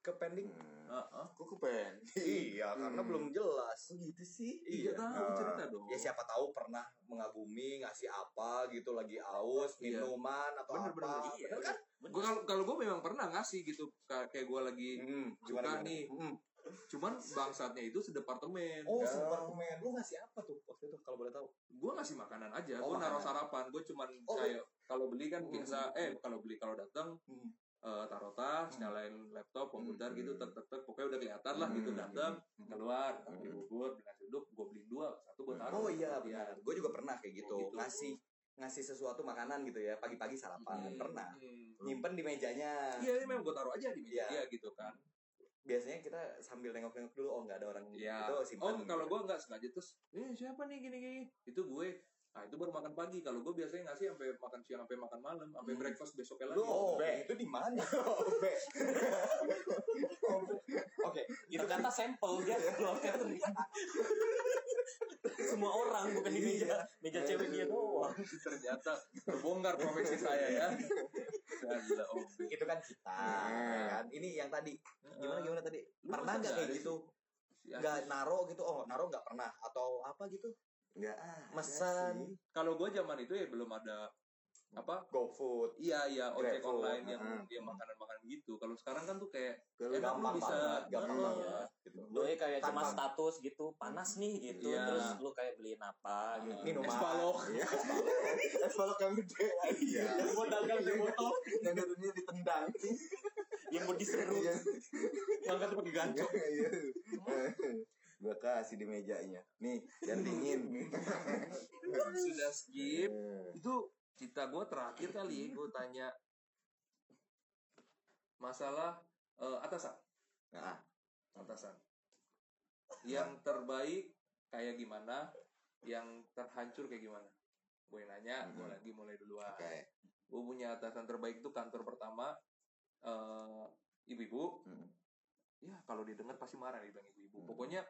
[SPEAKER 3] ke pending.
[SPEAKER 1] ah, ah.
[SPEAKER 2] Kok kepen?
[SPEAKER 3] Iya, karena
[SPEAKER 2] Hmm.
[SPEAKER 3] belum jelas. gitu sih.
[SPEAKER 1] iya
[SPEAKER 3] Iya.
[SPEAKER 1] tahu
[SPEAKER 2] Ah.
[SPEAKER 1] cerita dong
[SPEAKER 3] Ya siapa tahu pernah mengagumi ngasih apa gitu lagi aus,
[SPEAKER 1] Iya.
[SPEAKER 3] minuman atau
[SPEAKER 1] Bener, bener.
[SPEAKER 3] apa. Bener kan?
[SPEAKER 1] gue kalau kalau gue memang pernah ngasih gitu Ka- kayak gue lagi
[SPEAKER 3] Hmm,
[SPEAKER 1] Suka nih. cuman bangsatnya itu sedepartemen
[SPEAKER 3] Oh,
[SPEAKER 2] Ya.
[SPEAKER 3] Superman. Lu ngasih apa tuh waktu itu kalau boleh tahu?
[SPEAKER 1] gue ngasih makanan aja
[SPEAKER 3] Oh,
[SPEAKER 1] gue naruh
[SPEAKER 3] makanan.
[SPEAKER 1] sarapan gue cuman
[SPEAKER 3] Oh.
[SPEAKER 1] kayak kalau beli kan
[SPEAKER 3] Hmm.
[SPEAKER 1] biasa eh kalau beli kalau datang
[SPEAKER 3] Hmm.
[SPEAKER 1] eh, taruh tas nyalain laptop komputer
[SPEAKER 2] Hmm.
[SPEAKER 1] gitu tek tek tek pokoknya udah kelihatan lah gitu
[SPEAKER 2] Hmm.
[SPEAKER 1] datang
[SPEAKER 2] Hmm.
[SPEAKER 1] keluar
[SPEAKER 2] Hmm.
[SPEAKER 1] beli bubur beli nasi uduk gue beliin dua satu gue taruh
[SPEAKER 3] Oh
[SPEAKER 1] Iya.
[SPEAKER 3] iya, benar. Gue juga pernah kayak gitu.
[SPEAKER 1] Kayak gitu.
[SPEAKER 3] Ngasih ngasih sesuatu makanan gitu ya, pagi-pagi sarapan.
[SPEAKER 1] Hmm.
[SPEAKER 3] Pernah.
[SPEAKER 1] Hmm.
[SPEAKER 3] Nyimpen di mejanya.
[SPEAKER 1] iya ini memang gue taruh aja di meja
[SPEAKER 3] Iya.
[SPEAKER 1] dia gitu kan
[SPEAKER 3] Biasanya kita sambil nengok-nengok dulu, oh nggak ada orang
[SPEAKER 1] Iya.
[SPEAKER 3] itu
[SPEAKER 1] oh
[SPEAKER 3] simpan.
[SPEAKER 1] kalau gue nggak sengaja terus eh siapa nih gini gini itu gue nah itu baru makan pagi kalau gue biasanya ngasih sampai makan siang sampai makan malam sampai
[SPEAKER 3] Hmm.
[SPEAKER 1] breakfast besoknya lagi
[SPEAKER 3] Lu oh, itu di mana? Obe. Oke,
[SPEAKER 1] Gitu.
[SPEAKER 3] itu kan
[SPEAKER 4] ternyata sampel dia
[SPEAKER 1] Iya.
[SPEAKER 4] keluar galeri. semua orang bukan di meja
[SPEAKER 1] Iya.
[SPEAKER 4] meja cewek dia doang
[SPEAKER 1] ternyata terbongkar profesi saya ya Gila, oh.
[SPEAKER 3] itu kan kita. ya kan? Ini yang tadi gimana gimana tadi?
[SPEAKER 1] Lu
[SPEAKER 3] Pernah
[SPEAKER 1] masa
[SPEAKER 3] nggak
[SPEAKER 1] nggak Ya.
[SPEAKER 3] kayak
[SPEAKER 1] ada
[SPEAKER 3] gitu?
[SPEAKER 1] Si Asus.
[SPEAKER 3] Nggak naro gitu? Oh, naro nggak pernah atau apa gitu?
[SPEAKER 2] Enggak ah.
[SPEAKER 3] Mesan
[SPEAKER 1] kalau gue zaman itu ya belum ada apa
[SPEAKER 3] GoFood.
[SPEAKER 1] iya iya ojek
[SPEAKER 3] Grab, Hmm.
[SPEAKER 1] online yang
[SPEAKER 2] heeh.
[SPEAKER 1] dia makanan makanan gitu kalau sekarang kan tuh kayak
[SPEAKER 2] Kalau
[SPEAKER 1] Emang
[SPEAKER 3] Gampang
[SPEAKER 1] lu bisa- Hmm.
[SPEAKER 3] banget, gampang
[SPEAKER 1] Heeh.
[SPEAKER 3] banget.
[SPEAKER 4] doi ya kayak cuma
[SPEAKER 3] Tanpa-
[SPEAKER 4] status gitu panas nih gitu
[SPEAKER 1] Iya. Hmm.
[SPEAKER 4] terus lu kayak beliin apa gitu
[SPEAKER 3] Minuman.
[SPEAKER 1] es balok
[SPEAKER 2] es balok yang gede. Iya.
[SPEAKER 4] gua dagang di botol
[SPEAKER 2] Yang dulunya ditendang.
[SPEAKER 4] yang mau diseru
[SPEAKER 2] Iya.
[SPEAKER 4] ngangkat pakai gantung
[SPEAKER 2] Iya. Gua kasih di mejanya. Nih, yang dingin.
[SPEAKER 1] sudah skip
[SPEAKER 2] Eh,
[SPEAKER 1] itu cita gue terakhir kali gue tanya masalah eh, atasan
[SPEAKER 2] Nah,
[SPEAKER 1] atasan yang terbaik kayak gimana yang terhancur kayak gimana gue nanya gue
[SPEAKER 2] Mhm.
[SPEAKER 1] lagi mulai duluan
[SPEAKER 2] oke.
[SPEAKER 1] gue punya atasan terbaik tuh kantor pertama eh, ibu-ibu
[SPEAKER 2] Hmm.
[SPEAKER 1] ya kalau didengar pasti marah nih bang ibu-ibu
[SPEAKER 2] Hmm.
[SPEAKER 1] pokoknya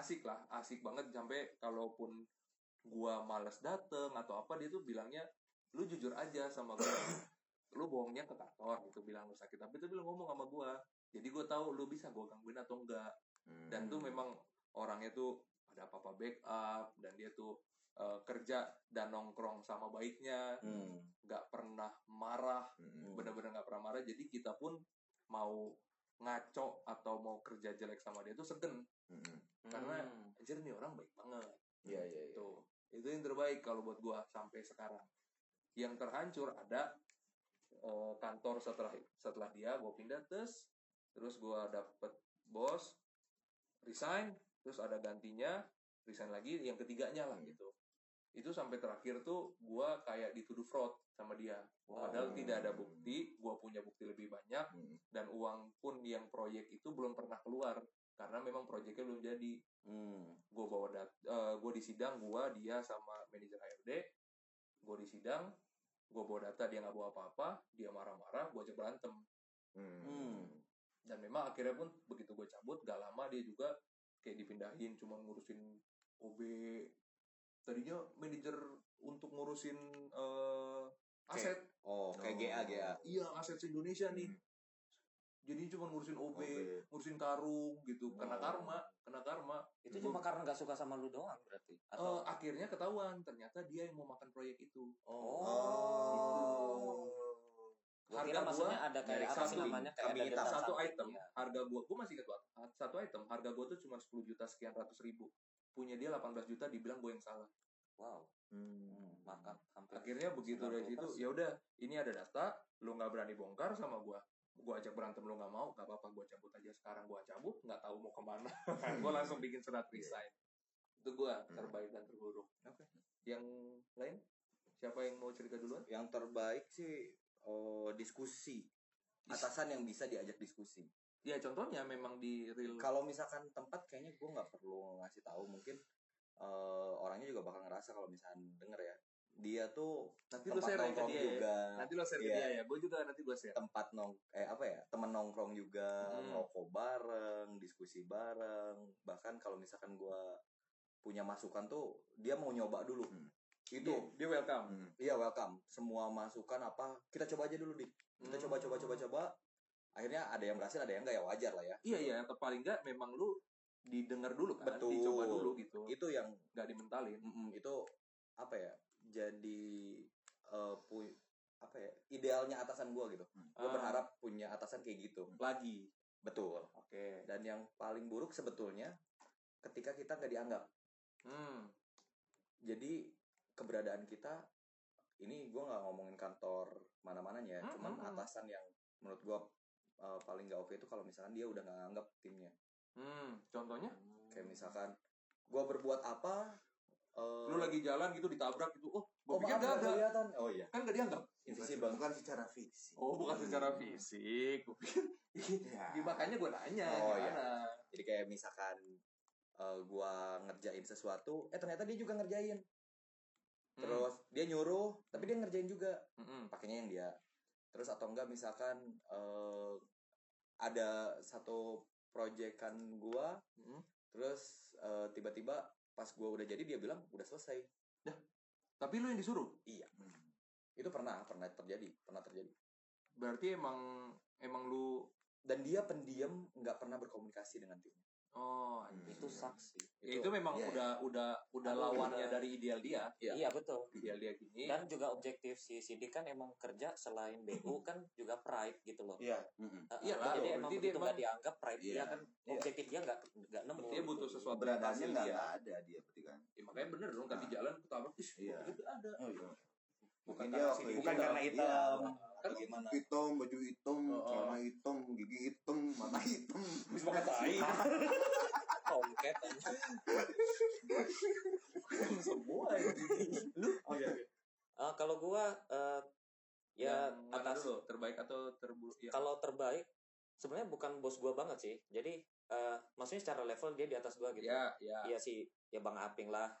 [SPEAKER 1] asik lah asik banget sampai kalaupun gua males dateng atau apa dia tuh bilangnya lu jujur aja sama gua lu bohongnya ke kantor gitu bilang lu sakit tapi tuh bilang ngomong sama gua jadi gua tahu lu bisa gua gangguin atau enggak
[SPEAKER 2] Hmm.
[SPEAKER 1] dan tuh memang orangnya tuh ada apa-apa backup dan dia tuh eh, kerja dan nongkrong sama baiknya
[SPEAKER 2] Hmm.
[SPEAKER 1] nggak pernah marah
[SPEAKER 2] Hmm.
[SPEAKER 1] benar-benar nggak pernah marah jadi kita pun mau ngaco atau mau kerja jelek sama dia tuh segen
[SPEAKER 2] Hmm.
[SPEAKER 1] karena anjir nih orang baik banget
[SPEAKER 3] Iya, iya, iya.
[SPEAKER 1] itu itu yang terbaik kalau buat gua sampai sekarang yang terhancur ada eh, kantor setelah setelah dia gue pindah terus terus gue dapet bos resign terus ada gantinya resign lagi yang ketiganya lah gitu itu sampai terakhir tuh gue kayak dituduh fraud sama dia padahal tidak ada bukti gue punya bukti lebih banyak
[SPEAKER 2] Hmm.
[SPEAKER 1] dan uang pun yang proyek itu belum pernah keluar karena memang proyeknya belum jadi
[SPEAKER 2] Hmm.
[SPEAKER 1] gue bawa dat gue di sidang gue dia sama manajer HRD gue di sidang gue bawa data dia nggak bawa apa-apa dia marah-marah gue ajak berantem
[SPEAKER 2] Hmm.
[SPEAKER 1] dan memang akhirnya pun begitu gue cabut gak lama dia juga kayak dipindahin cuman ngurusin OB tadinya manajer untuk ngurusin eh, aset
[SPEAKER 2] Oh, kayak
[SPEAKER 3] Oh.
[SPEAKER 2] GA GA.
[SPEAKER 1] iya aset Indonesia nih jadi cuma ngurusin OB, ngurusin karung gitu kena
[SPEAKER 2] Oh.
[SPEAKER 1] karma kena karma
[SPEAKER 4] Itu cuma karena nggak suka sama lu doang berarti.
[SPEAKER 1] Hmm. Eh,
[SPEAKER 4] Atau
[SPEAKER 1] akhirnya ketahuan ternyata dia yang mau makan proyek itu Gitu.
[SPEAKER 2] Oh.
[SPEAKER 4] gua kira
[SPEAKER 1] harga
[SPEAKER 4] maksudnya
[SPEAKER 1] gua
[SPEAKER 4] ada
[SPEAKER 2] dari
[SPEAKER 4] kayak apa sih
[SPEAKER 2] kambing-
[SPEAKER 4] namanya kayak
[SPEAKER 2] kambing
[SPEAKER 4] ada
[SPEAKER 2] hitam.
[SPEAKER 4] data
[SPEAKER 1] satu
[SPEAKER 4] sampling,
[SPEAKER 1] item
[SPEAKER 4] ya.
[SPEAKER 1] harga gua gua masih ingat banget satu item harga gua tuh cuma 10 juta sekian ratus ribu punya dia 18 juta dibilang gua yang salah
[SPEAKER 4] Wow,
[SPEAKER 2] Hmm.
[SPEAKER 4] makan hampir.
[SPEAKER 1] akhirnya begitu dari situ ya udah ini ada data lu nggak berani bongkar sama gua gua ajak berantem lu nggak mau nggak apa-apa gua cabut aja sekarang gua cabut nggak tahu mau kemana gua langsung bikin surat resign itu gua terbaik dan terburuk
[SPEAKER 3] Oke.
[SPEAKER 1] yang lain siapa yang mau cerita duluan
[SPEAKER 3] Yang terbaik sih oh, diskusi. Atasan yang bisa diajak diskusi.
[SPEAKER 1] ya contohnya memang di real
[SPEAKER 3] Kalau misalkan tempat kayaknya gue nggak perlu ngasih tahu mungkin eh, orangnya juga bakal ngerasa kalau misalkan denger ya. Dia tuh
[SPEAKER 1] nanti lu
[SPEAKER 3] tempat
[SPEAKER 1] share ke
[SPEAKER 3] nongkrong
[SPEAKER 1] dia ya
[SPEAKER 3] juga.
[SPEAKER 1] nanti lo share ke
[SPEAKER 3] Iya.
[SPEAKER 1] dia ya gue juga nanti gue share
[SPEAKER 3] tempat nong eh apa ya temen nongkrong juga
[SPEAKER 1] Hmm.
[SPEAKER 3] ngerokok bareng diskusi bareng bahkan kalau misalkan gua punya masukan tuh dia mau nyoba dulu
[SPEAKER 2] Hmm.
[SPEAKER 3] itu
[SPEAKER 1] dia welcome
[SPEAKER 2] Hmm.
[SPEAKER 3] iya welcome semua masukan apa kita coba aja dulu dik kita
[SPEAKER 1] Hmm.
[SPEAKER 3] coba coba coba coba akhirnya ada yang berhasil ada yang enggak ya wajar lah ya
[SPEAKER 1] iya iya atau paling nggak memang lu didengar dulu kan
[SPEAKER 3] Betul. Iya.
[SPEAKER 1] dicoba dulu gitu
[SPEAKER 3] itu yang
[SPEAKER 1] nggak dimentalin
[SPEAKER 3] mm, itu apa ya jadi eh, pu- apa ya idealnya atasan gua gitu gua
[SPEAKER 1] Ah,
[SPEAKER 3] berharap punya atasan kayak gitu
[SPEAKER 1] lagi
[SPEAKER 3] betul
[SPEAKER 1] oke
[SPEAKER 3] Dan yang paling buruk sebetulnya ketika kita nggak dianggap.
[SPEAKER 1] hmm.
[SPEAKER 3] Jadi keberadaan kita ini gue nggak ngomongin kantor mana-mananya, ya,
[SPEAKER 1] Hmm,
[SPEAKER 3] cuman
[SPEAKER 1] hmm, hmm.
[SPEAKER 3] atasan yang menurut gue paling nggak oke itu kalau misalkan dia udah nggak nganggap timnya.
[SPEAKER 1] Hmm, contohnya
[SPEAKER 3] Kayak misalkan gue berbuat apa, eh,
[SPEAKER 1] lu lagi jalan gitu ditabrak gitu oh
[SPEAKER 3] oh
[SPEAKER 1] gua pikir nggak
[SPEAKER 3] maaf nggak
[SPEAKER 1] ada
[SPEAKER 3] kelihatan, oh iya,
[SPEAKER 1] kan nggak dianggap
[SPEAKER 3] invisible.
[SPEAKER 2] Bukan secara fisik.
[SPEAKER 1] oh bukan secara
[SPEAKER 2] Hmm.
[SPEAKER 1] fisik Gua pikir
[SPEAKER 2] Ya.
[SPEAKER 1] Ya, makanya gue nanya
[SPEAKER 3] Oh,
[SPEAKER 1] gimana
[SPEAKER 3] iya. Jadi kayak misalkan eh, gua ngerjain sesuatu, eh ternyata dia juga ngerjain.
[SPEAKER 1] Hmm.
[SPEAKER 3] Terus dia nyuruh, tapi dia ngerjain juga.
[SPEAKER 1] Mm-mm.
[SPEAKER 3] pakainya yang dia terus atau enggak misalkan eh, ada satu proyekan gua
[SPEAKER 1] Mm-mm.
[SPEAKER 3] terus eh, tiba-tiba pas gua udah jadi dia bilang udah selesai
[SPEAKER 1] tapi lu yang disuruh
[SPEAKER 2] Hmm.
[SPEAKER 3] itu pernah pernah terjadi pernah terjadi
[SPEAKER 1] berarti emang emang lu
[SPEAKER 3] dan dia pendiam nggak pernah berkomunikasi dengan tim
[SPEAKER 1] oh
[SPEAKER 2] Hmm.
[SPEAKER 4] Itu saksi.
[SPEAKER 1] Ya, itu memang
[SPEAKER 2] Iya,
[SPEAKER 1] udah udah udah
[SPEAKER 4] Aduh,
[SPEAKER 1] lawannya
[SPEAKER 4] udah.
[SPEAKER 1] dari ideal dia
[SPEAKER 3] Iya.
[SPEAKER 4] Iya betul.
[SPEAKER 1] ideal dia gini
[SPEAKER 4] Dan juga objektif si Sidik kan emang kerja selain BU kan juga pride gitu loh.
[SPEAKER 2] Iya.
[SPEAKER 1] Iyalah,
[SPEAKER 4] Heeh, jadi
[SPEAKER 1] berarti
[SPEAKER 4] emang
[SPEAKER 1] dia
[SPEAKER 4] begitu
[SPEAKER 1] emang-
[SPEAKER 4] nggak dianggap pride
[SPEAKER 2] Iya.
[SPEAKER 4] dia kan objektif dia nggak nggak nemu.
[SPEAKER 1] berarti dia butuh
[SPEAKER 4] gitu.
[SPEAKER 1] sesuatu yang
[SPEAKER 2] Keberadaannya
[SPEAKER 1] hasil
[SPEAKER 2] nggak
[SPEAKER 1] dia
[SPEAKER 2] nggak ada dia berarti kan.
[SPEAKER 1] Ya, makanya bener dong kan di jalan ketabrak ih
[SPEAKER 2] Iya.
[SPEAKER 1] itu ada
[SPEAKER 2] Oh iya.
[SPEAKER 1] Bukan
[SPEAKER 2] Mungkin
[SPEAKER 1] karena
[SPEAKER 2] dia
[SPEAKER 1] si
[SPEAKER 2] waktu
[SPEAKER 1] dia
[SPEAKER 2] bukan karena
[SPEAKER 5] "Iya,
[SPEAKER 2] hitam,
[SPEAKER 1] Kan
[SPEAKER 2] gimana? Hitam, baju hitam,
[SPEAKER 1] Oh, oh.
[SPEAKER 2] celana hitam, gigi hitam, mata hitam.
[SPEAKER 3] bisa pakai tai
[SPEAKER 4] Tongket aja.
[SPEAKER 1] semua ya. iya,
[SPEAKER 4] Eh, kalau gua eh, ya
[SPEAKER 1] Yang mana
[SPEAKER 4] atas
[SPEAKER 1] dulu terbaik atau terburuk ya.
[SPEAKER 4] kalau terbaik sebenarnya bukan bos gua banget sih. Jadi eh, maksudnya secara level dia di atas gua gitu.
[SPEAKER 1] ya ya
[SPEAKER 4] Iya sih, ya Bang Aping lah.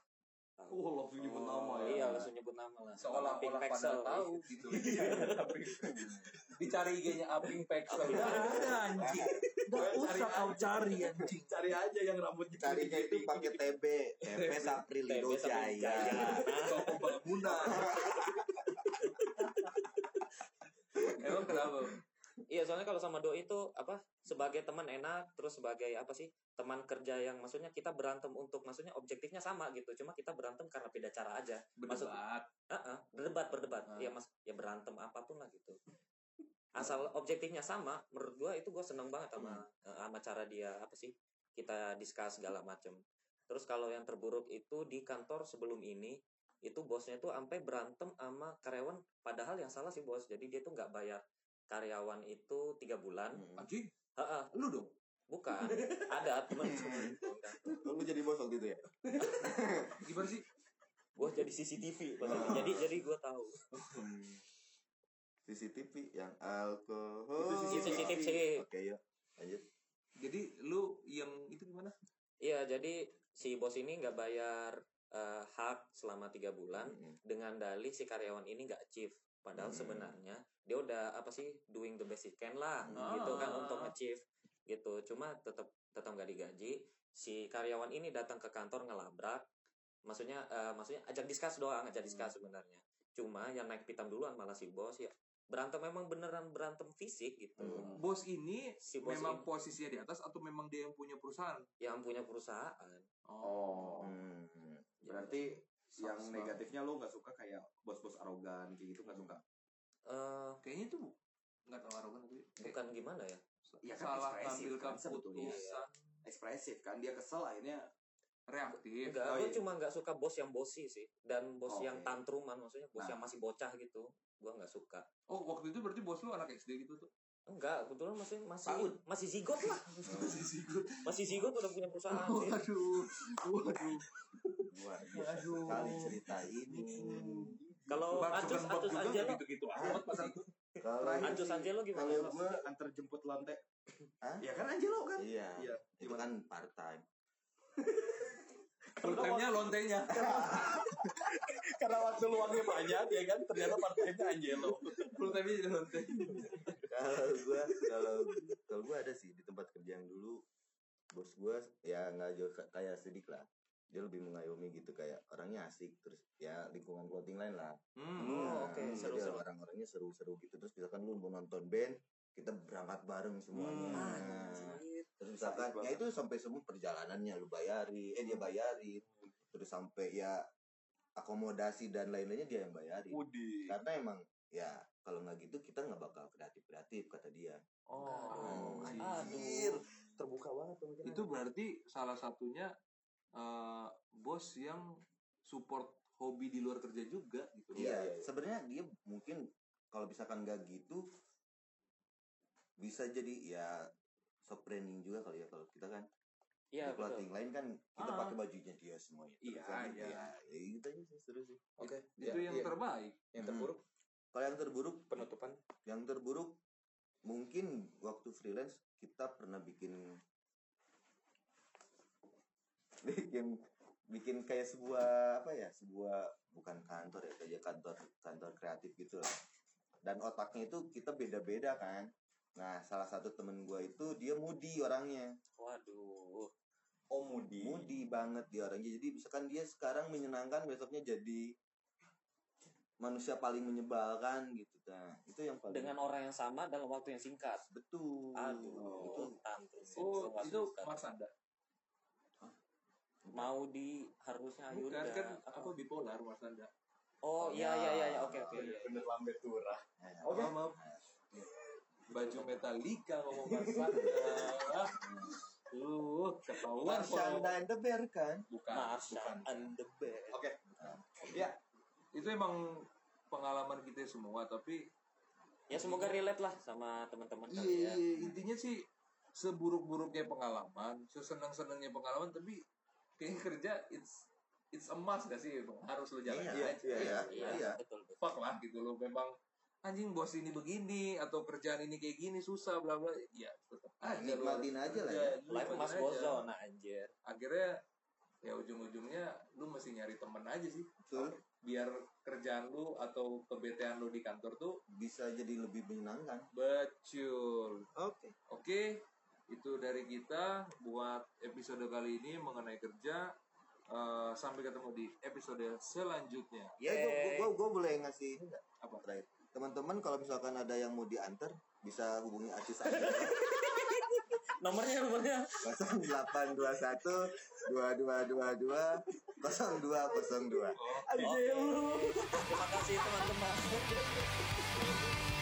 [SPEAKER 1] oh langsung nyebut nama
[SPEAKER 4] Oh,
[SPEAKER 1] ya
[SPEAKER 4] Iya, langsung nyebut nama lah. Aping
[SPEAKER 1] seolah-olah
[SPEAKER 4] Pexel.
[SPEAKER 1] pada tahu gitu
[SPEAKER 4] Iya.
[SPEAKER 1] dicari IG-nya Aping Pexel
[SPEAKER 4] Aping.
[SPEAKER 1] Nggak ada anjing Nggak usah kau cari anjing
[SPEAKER 5] Cari aja yang rambutnya
[SPEAKER 2] Carinya itu gitu pakai TB, TB Saprilido
[SPEAKER 4] TB Saprilido Jaya.
[SPEAKER 2] Jaya.
[SPEAKER 1] toko bangunan emang kenapa
[SPEAKER 4] Iya, soalnya kalau sama doi itu apa? Sebagai teman enak, terus sebagai apa sih? Teman kerja yang maksudnya kita berantem untuk maksudnya objektifnya sama gitu. Cuma kita berantem karena beda cara aja. Maksud-
[SPEAKER 1] berdebat
[SPEAKER 4] Heeh, berdebat berdebat.
[SPEAKER 1] Ah.
[SPEAKER 4] Iya, Mas, ya berantem apapun lah gitu. Asal objektifnya sama, menurut gua itu gua seneng banget sama eh, sama cara dia apa sih? Kita diskus segala macem Terus kalau yang terburuk itu di kantor sebelum ini itu bosnya tuh sampai berantem sama karyawan padahal yang salah sih bos jadi dia tuh nggak bayar karyawan itu tiga
[SPEAKER 2] Hmm.
[SPEAKER 4] bulan
[SPEAKER 1] anjing
[SPEAKER 4] Heeh,
[SPEAKER 1] lu dong
[SPEAKER 4] bukan ada temen
[SPEAKER 2] Lu jadi bos waktu itu ya?
[SPEAKER 1] gimana sih
[SPEAKER 4] gue jadi CCTV waktu itu. jadi jadi gue tahu
[SPEAKER 2] Hmm. CCTV yang alkohol.
[SPEAKER 1] Itu
[SPEAKER 4] CCTV sih
[SPEAKER 2] Oke ya. Lanjut.
[SPEAKER 1] jadi lu yang itu gimana
[SPEAKER 4] Iya, jadi si bos ini nggak bayar eh, hak selama tiga
[SPEAKER 2] Kan?
[SPEAKER 4] bulan dengan dalih si karyawan ini nggak achieve. Padahal
[SPEAKER 2] Hmm.
[SPEAKER 4] sebenarnya dia udah apa sih doing the best he can lah,
[SPEAKER 1] Hmm.
[SPEAKER 4] gitu kan
[SPEAKER 1] Ah.
[SPEAKER 4] untuk achieve gitu. Cuma tetap tetap nggak digaji. Si karyawan ini datang ke kantor ngelabrak. Maksudnya eh, maksudnya ajak diskus doang, ajak diskus sebenarnya. Cuma yang naik pitam duluan malah si bos ya. Berantem memang beneran berantem fisik gitu.
[SPEAKER 2] Hmm.
[SPEAKER 1] bos ini
[SPEAKER 4] Si bos
[SPEAKER 1] memang
[SPEAKER 4] ini
[SPEAKER 1] posisinya di atas atau memang dia yang punya perusahaan
[SPEAKER 4] yang punya perusahaan.
[SPEAKER 2] Oh.
[SPEAKER 5] Oh,
[SPEAKER 2] Hmm.
[SPEAKER 5] berarti yang
[SPEAKER 1] Sama.
[SPEAKER 5] negatifnya lo nggak suka kayak bos-bos arogan kayak gitu nggak suka.
[SPEAKER 4] eh
[SPEAKER 1] kayaknya itu bu nggak tahu arogan tapi kayak
[SPEAKER 4] bukan gimana ya?
[SPEAKER 5] Iya kan
[SPEAKER 1] salah
[SPEAKER 5] ekspresif
[SPEAKER 1] ngambil
[SPEAKER 5] kan sebetulnya.
[SPEAKER 1] keputusan
[SPEAKER 5] Ekspresif kan dia kesel akhirnya
[SPEAKER 1] reaktif
[SPEAKER 4] Enggak,
[SPEAKER 5] Oh,
[SPEAKER 4] gue
[SPEAKER 5] iya.
[SPEAKER 4] cuma nggak suka bos yang bosi sih dan bos
[SPEAKER 5] Oh,
[SPEAKER 4] yang
[SPEAKER 5] oke.
[SPEAKER 4] tantruman maksudnya bos
[SPEAKER 5] Nah.
[SPEAKER 4] yang masih bocah gitu gue nggak suka
[SPEAKER 1] oh waktu itu berarti bos lu anak SD gitu tuh
[SPEAKER 4] enggak kebetulan masih masih
[SPEAKER 5] Paud.
[SPEAKER 4] masih zigot lah masih zigot udah punya perusahaan
[SPEAKER 1] Oh,
[SPEAKER 4] sih.
[SPEAKER 1] waduh waduh
[SPEAKER 2] Luar biasa
[SPEAKER 1] Waduh.
[SPEAKER 2] sekali cerita ini.
[SPEAKER 4] kalau
[SPEAKER 1] Mark
[SPEAKER 4] acus
[SPEAKER 1] Zuckerberg
[SPEAKER 4] acus
[SPEAKER 1] juga
[SPEAKER 4] aja
[SPEAKER 1] nggak
[SPEAKER 4] lo
[SPEAKER 1] gitu-gitu amat pasti
[SPEAKER 2] Kalau
[SPEAKER 4] acus aja lo gimana
[SPEAKER 2] Kalau
[SPEAKER 4] Lo?
[SPEAKER 2] gue
[SPEAKER 5] antar jemput lantai.
[SPEAKER 2] Hah?
[SPEAKER 5] Ya kan Angelo kan.
[SPEAKER 2] iya.
[SPEAKER 5] Iya.
[SPEAKER 2] Itu kan part time.
[SPEAKER 1] full time-nya lontenya
[SPEAKER 5] Karena waktu luangnya banyak ya kan ternyata partainya Angelo.
[SPEAKER 1] full time-nya jadi lonte
[SPEAKER 2] kalau gua kalau kalau gua ada sih di tempat kerja yang dulu bos gua ya nggak jauh ka- kayak sedik lah dia lebih mengayomi gitu kayak orangnya asik terus ya lingkungan clothing lain lah
[SPEAKER 1] hmm.
[SPEAKER 4] oh
[SPEAKER 2] Nah,
[SPEAKER 4] oke
[SPEAKER 2] jadi
[SPEAKER 4] seru-seru
[SPEAKER 2] orang-orangnya seru-seru gitu terus misalkan lu mau nonton band kita berangkat bareng semuanya
[SPEAKER 1] Hmm.
[SPEAKER 2] Nah, terus misalkan
[SPEAKER 5] Asik
[SPEAKER 2] ya itu sampai semua perjalanannya lu bayari eh dia bayarin terus sampai ya akomodasi dan lain-lainnya dia yang bayarin
[SPEAKER 5] Udi.
[SPEAKER 2] karena emang ya kalau nggak gitu kita nggak bakal kreatif kreatif kata dia
[SPEAKER 4] Oh,
[SPEAKER 2] Anjir.
[SPEAKER 4] aduh.
[SPEAKER 2] terbuka banget pemikiran.
[SPEAKER 1] itu berarti salah satunya eh, bos yang support hobi di luar kerja juga gitu
[SPEAKER 2] Iya,
[SPEAKER 5] iya, iya.
[SPEAKER 2] sebenarnya dia mungkin kalau misalkan nggak gitu bisa jadi ya soft branding juga kali ya kalau kita kan
[SPEAKER 4] iya
[SPEAKER 2] di
[SPEAKER 4] betul
[SPEAKER 2] clothing lain kan kita
[SPEAKER 1] Ah.
[SPEAKER 2] pakai bajunya dia semuanya.
[SPEAKER 1] Iya,
[SPEAKER 2] Terusan,
[SPEAKER 1] iya.
[SPEAKER 2] ya, ya gitu aja sih seru sih.
[SPEAKER 5] Oke. ya,
[SPEAKER 1] itu
[SPEAKER 3] Iya,
[SPEAKER 1] yang terbaik
[SPEAKER 5] yang terburuk
[SPEAKER 2] Kalau yang terburuk,
[SPEAKER 5] penutupan.
[SPEAKER 2] yang terburuk mungkin waktu freelance kita pernah bikin bikin bikin kayak sebuah apa ya sebuah bukan kantor ya kayak kantor kantor kreatif gitu lah dan otaknya itu kita beda-beda kan nah salah satu temen gue itu dia mudi orangnya
[SPEAKER 4] waduh
[SPEAKER 5] Oh Mudi.
[SPEAKER 2] mudi banget dia orangnya jadi misalkan dia sekarang menyenangkan besoknya jadi manusia paling menyebalkan gitu nah itu yang paling
[SPEAKER 4] dengan orang yang sama dalam waktu yang singkat
[SPEAKER 2] betul
[SPEAKER 4] aduh
[SPEAKER 2] itu
[SPEAKER 4] itu tantrum sih,
[SPEAKER 1] oh
[SPEAKER 4] sesuatu
[SPEAKER 1] itu
[SPEAKER 4] sekali.
[SPEAKER 1] mas anda
[SPEAKER 4] mau di harusnya Ayunda
[SPEAKER 1] bukan kan
[SPEAKER 4] Apa?
[SPEAKER 1] apa bipolar mas anda
[SPEAKER 4] oh iya iya iya iya, oke oke iya.
[SPEAKER 5] Bener lambe turah.
[SPEAKER 2] Nah,
[SPEAKER 1] Oke. maaf. Baju Metallica ngomong Marsanda. Tuh, ketahuan
[SPEAKER 2] Marshanda
[SPEAKER 1] kalau
[SPEAKER 2] and the Bear kan?
[SPEAKER 1] bukan.
[SPEAKER 4] Marsha
[SPEAKER 2] bukan.
[SPEAKER 4] and the Bear.
[SPEAKER 5] Oke.
[SPEAKER 1] Itu emang pengalaman kita semua, tapi
[SPEAKER 4] Ya semoga relate lah sama teman-teman
[SPEAKER 2] ya.
[SPEAKER 1] iya,
[SPEAKER 4] kalian.
[SPEAKER 1] intinya sih seburuk-buruknya pengalaman, sesenang-senangnya pengalaman, tapi kayaknya kerja it's it's a must gak sih? Bang? Harus lo jalanin
[SPEAKER 2] Iya,
[SPEAKER 1] aja.
[SPEAKER 2] iya, iya.
[SPEAKER 4] Iya,
[SPEAKER 2] Iya.
[SPEAKER 4] betul betul.
[SPEAKER 1] Fuck lah gitu lo memang anjing bos ini begini atau kerjaan ini kayak gini susah bla bla ya tetap aja lo
[SPEAKER 2] Nikmatin
[SPEAKER 1] harus
[SPEAKER 2] aja lah
[SPEAKER 1] kerja,
[SPEAKER 2] ya.
[SPEAKER 4] Live
[SPEAKER 1] nikmatin
[SPEAKER 4] Mas
[SPEAKER 1] Iya, aja.
[SPEAKER 4] Bozo nah anjir.
[SPEAKER 1] akhirnya ya ujung-ujungnya lu mesti nyari temen aja sih
[SPEAKER 2] Betul.
[SPEAKER 1] biar kerjaan lu atau kebetean lu di kantor tuh
[SPEAKER 2] Bisa jadi lebih menyenangkan.
[SPEAKER 1] becul
[SPEAKER 2] Oke.
[SPEAKER 1] oke itu dari kita buat episode kali ini mengenai kerja Eh, sampai ketemu di episode selanjutnya
[SPEAKER 2] Ya, gua, gua, gua, gua boleh ngasih ini nggak?
[SPEAKER 1] Apa?
[SPEAKER 2] Terakhir. Teman-teman kalau misalkan ada yang mau diantar bisa hubungi Asis aja.
[SPEAKER 4] Nomornya nomornya.
[SPEAKER 2] 0821 2222 0202.
[SPEAKER 4] Oke. Terima kasih teman-teman.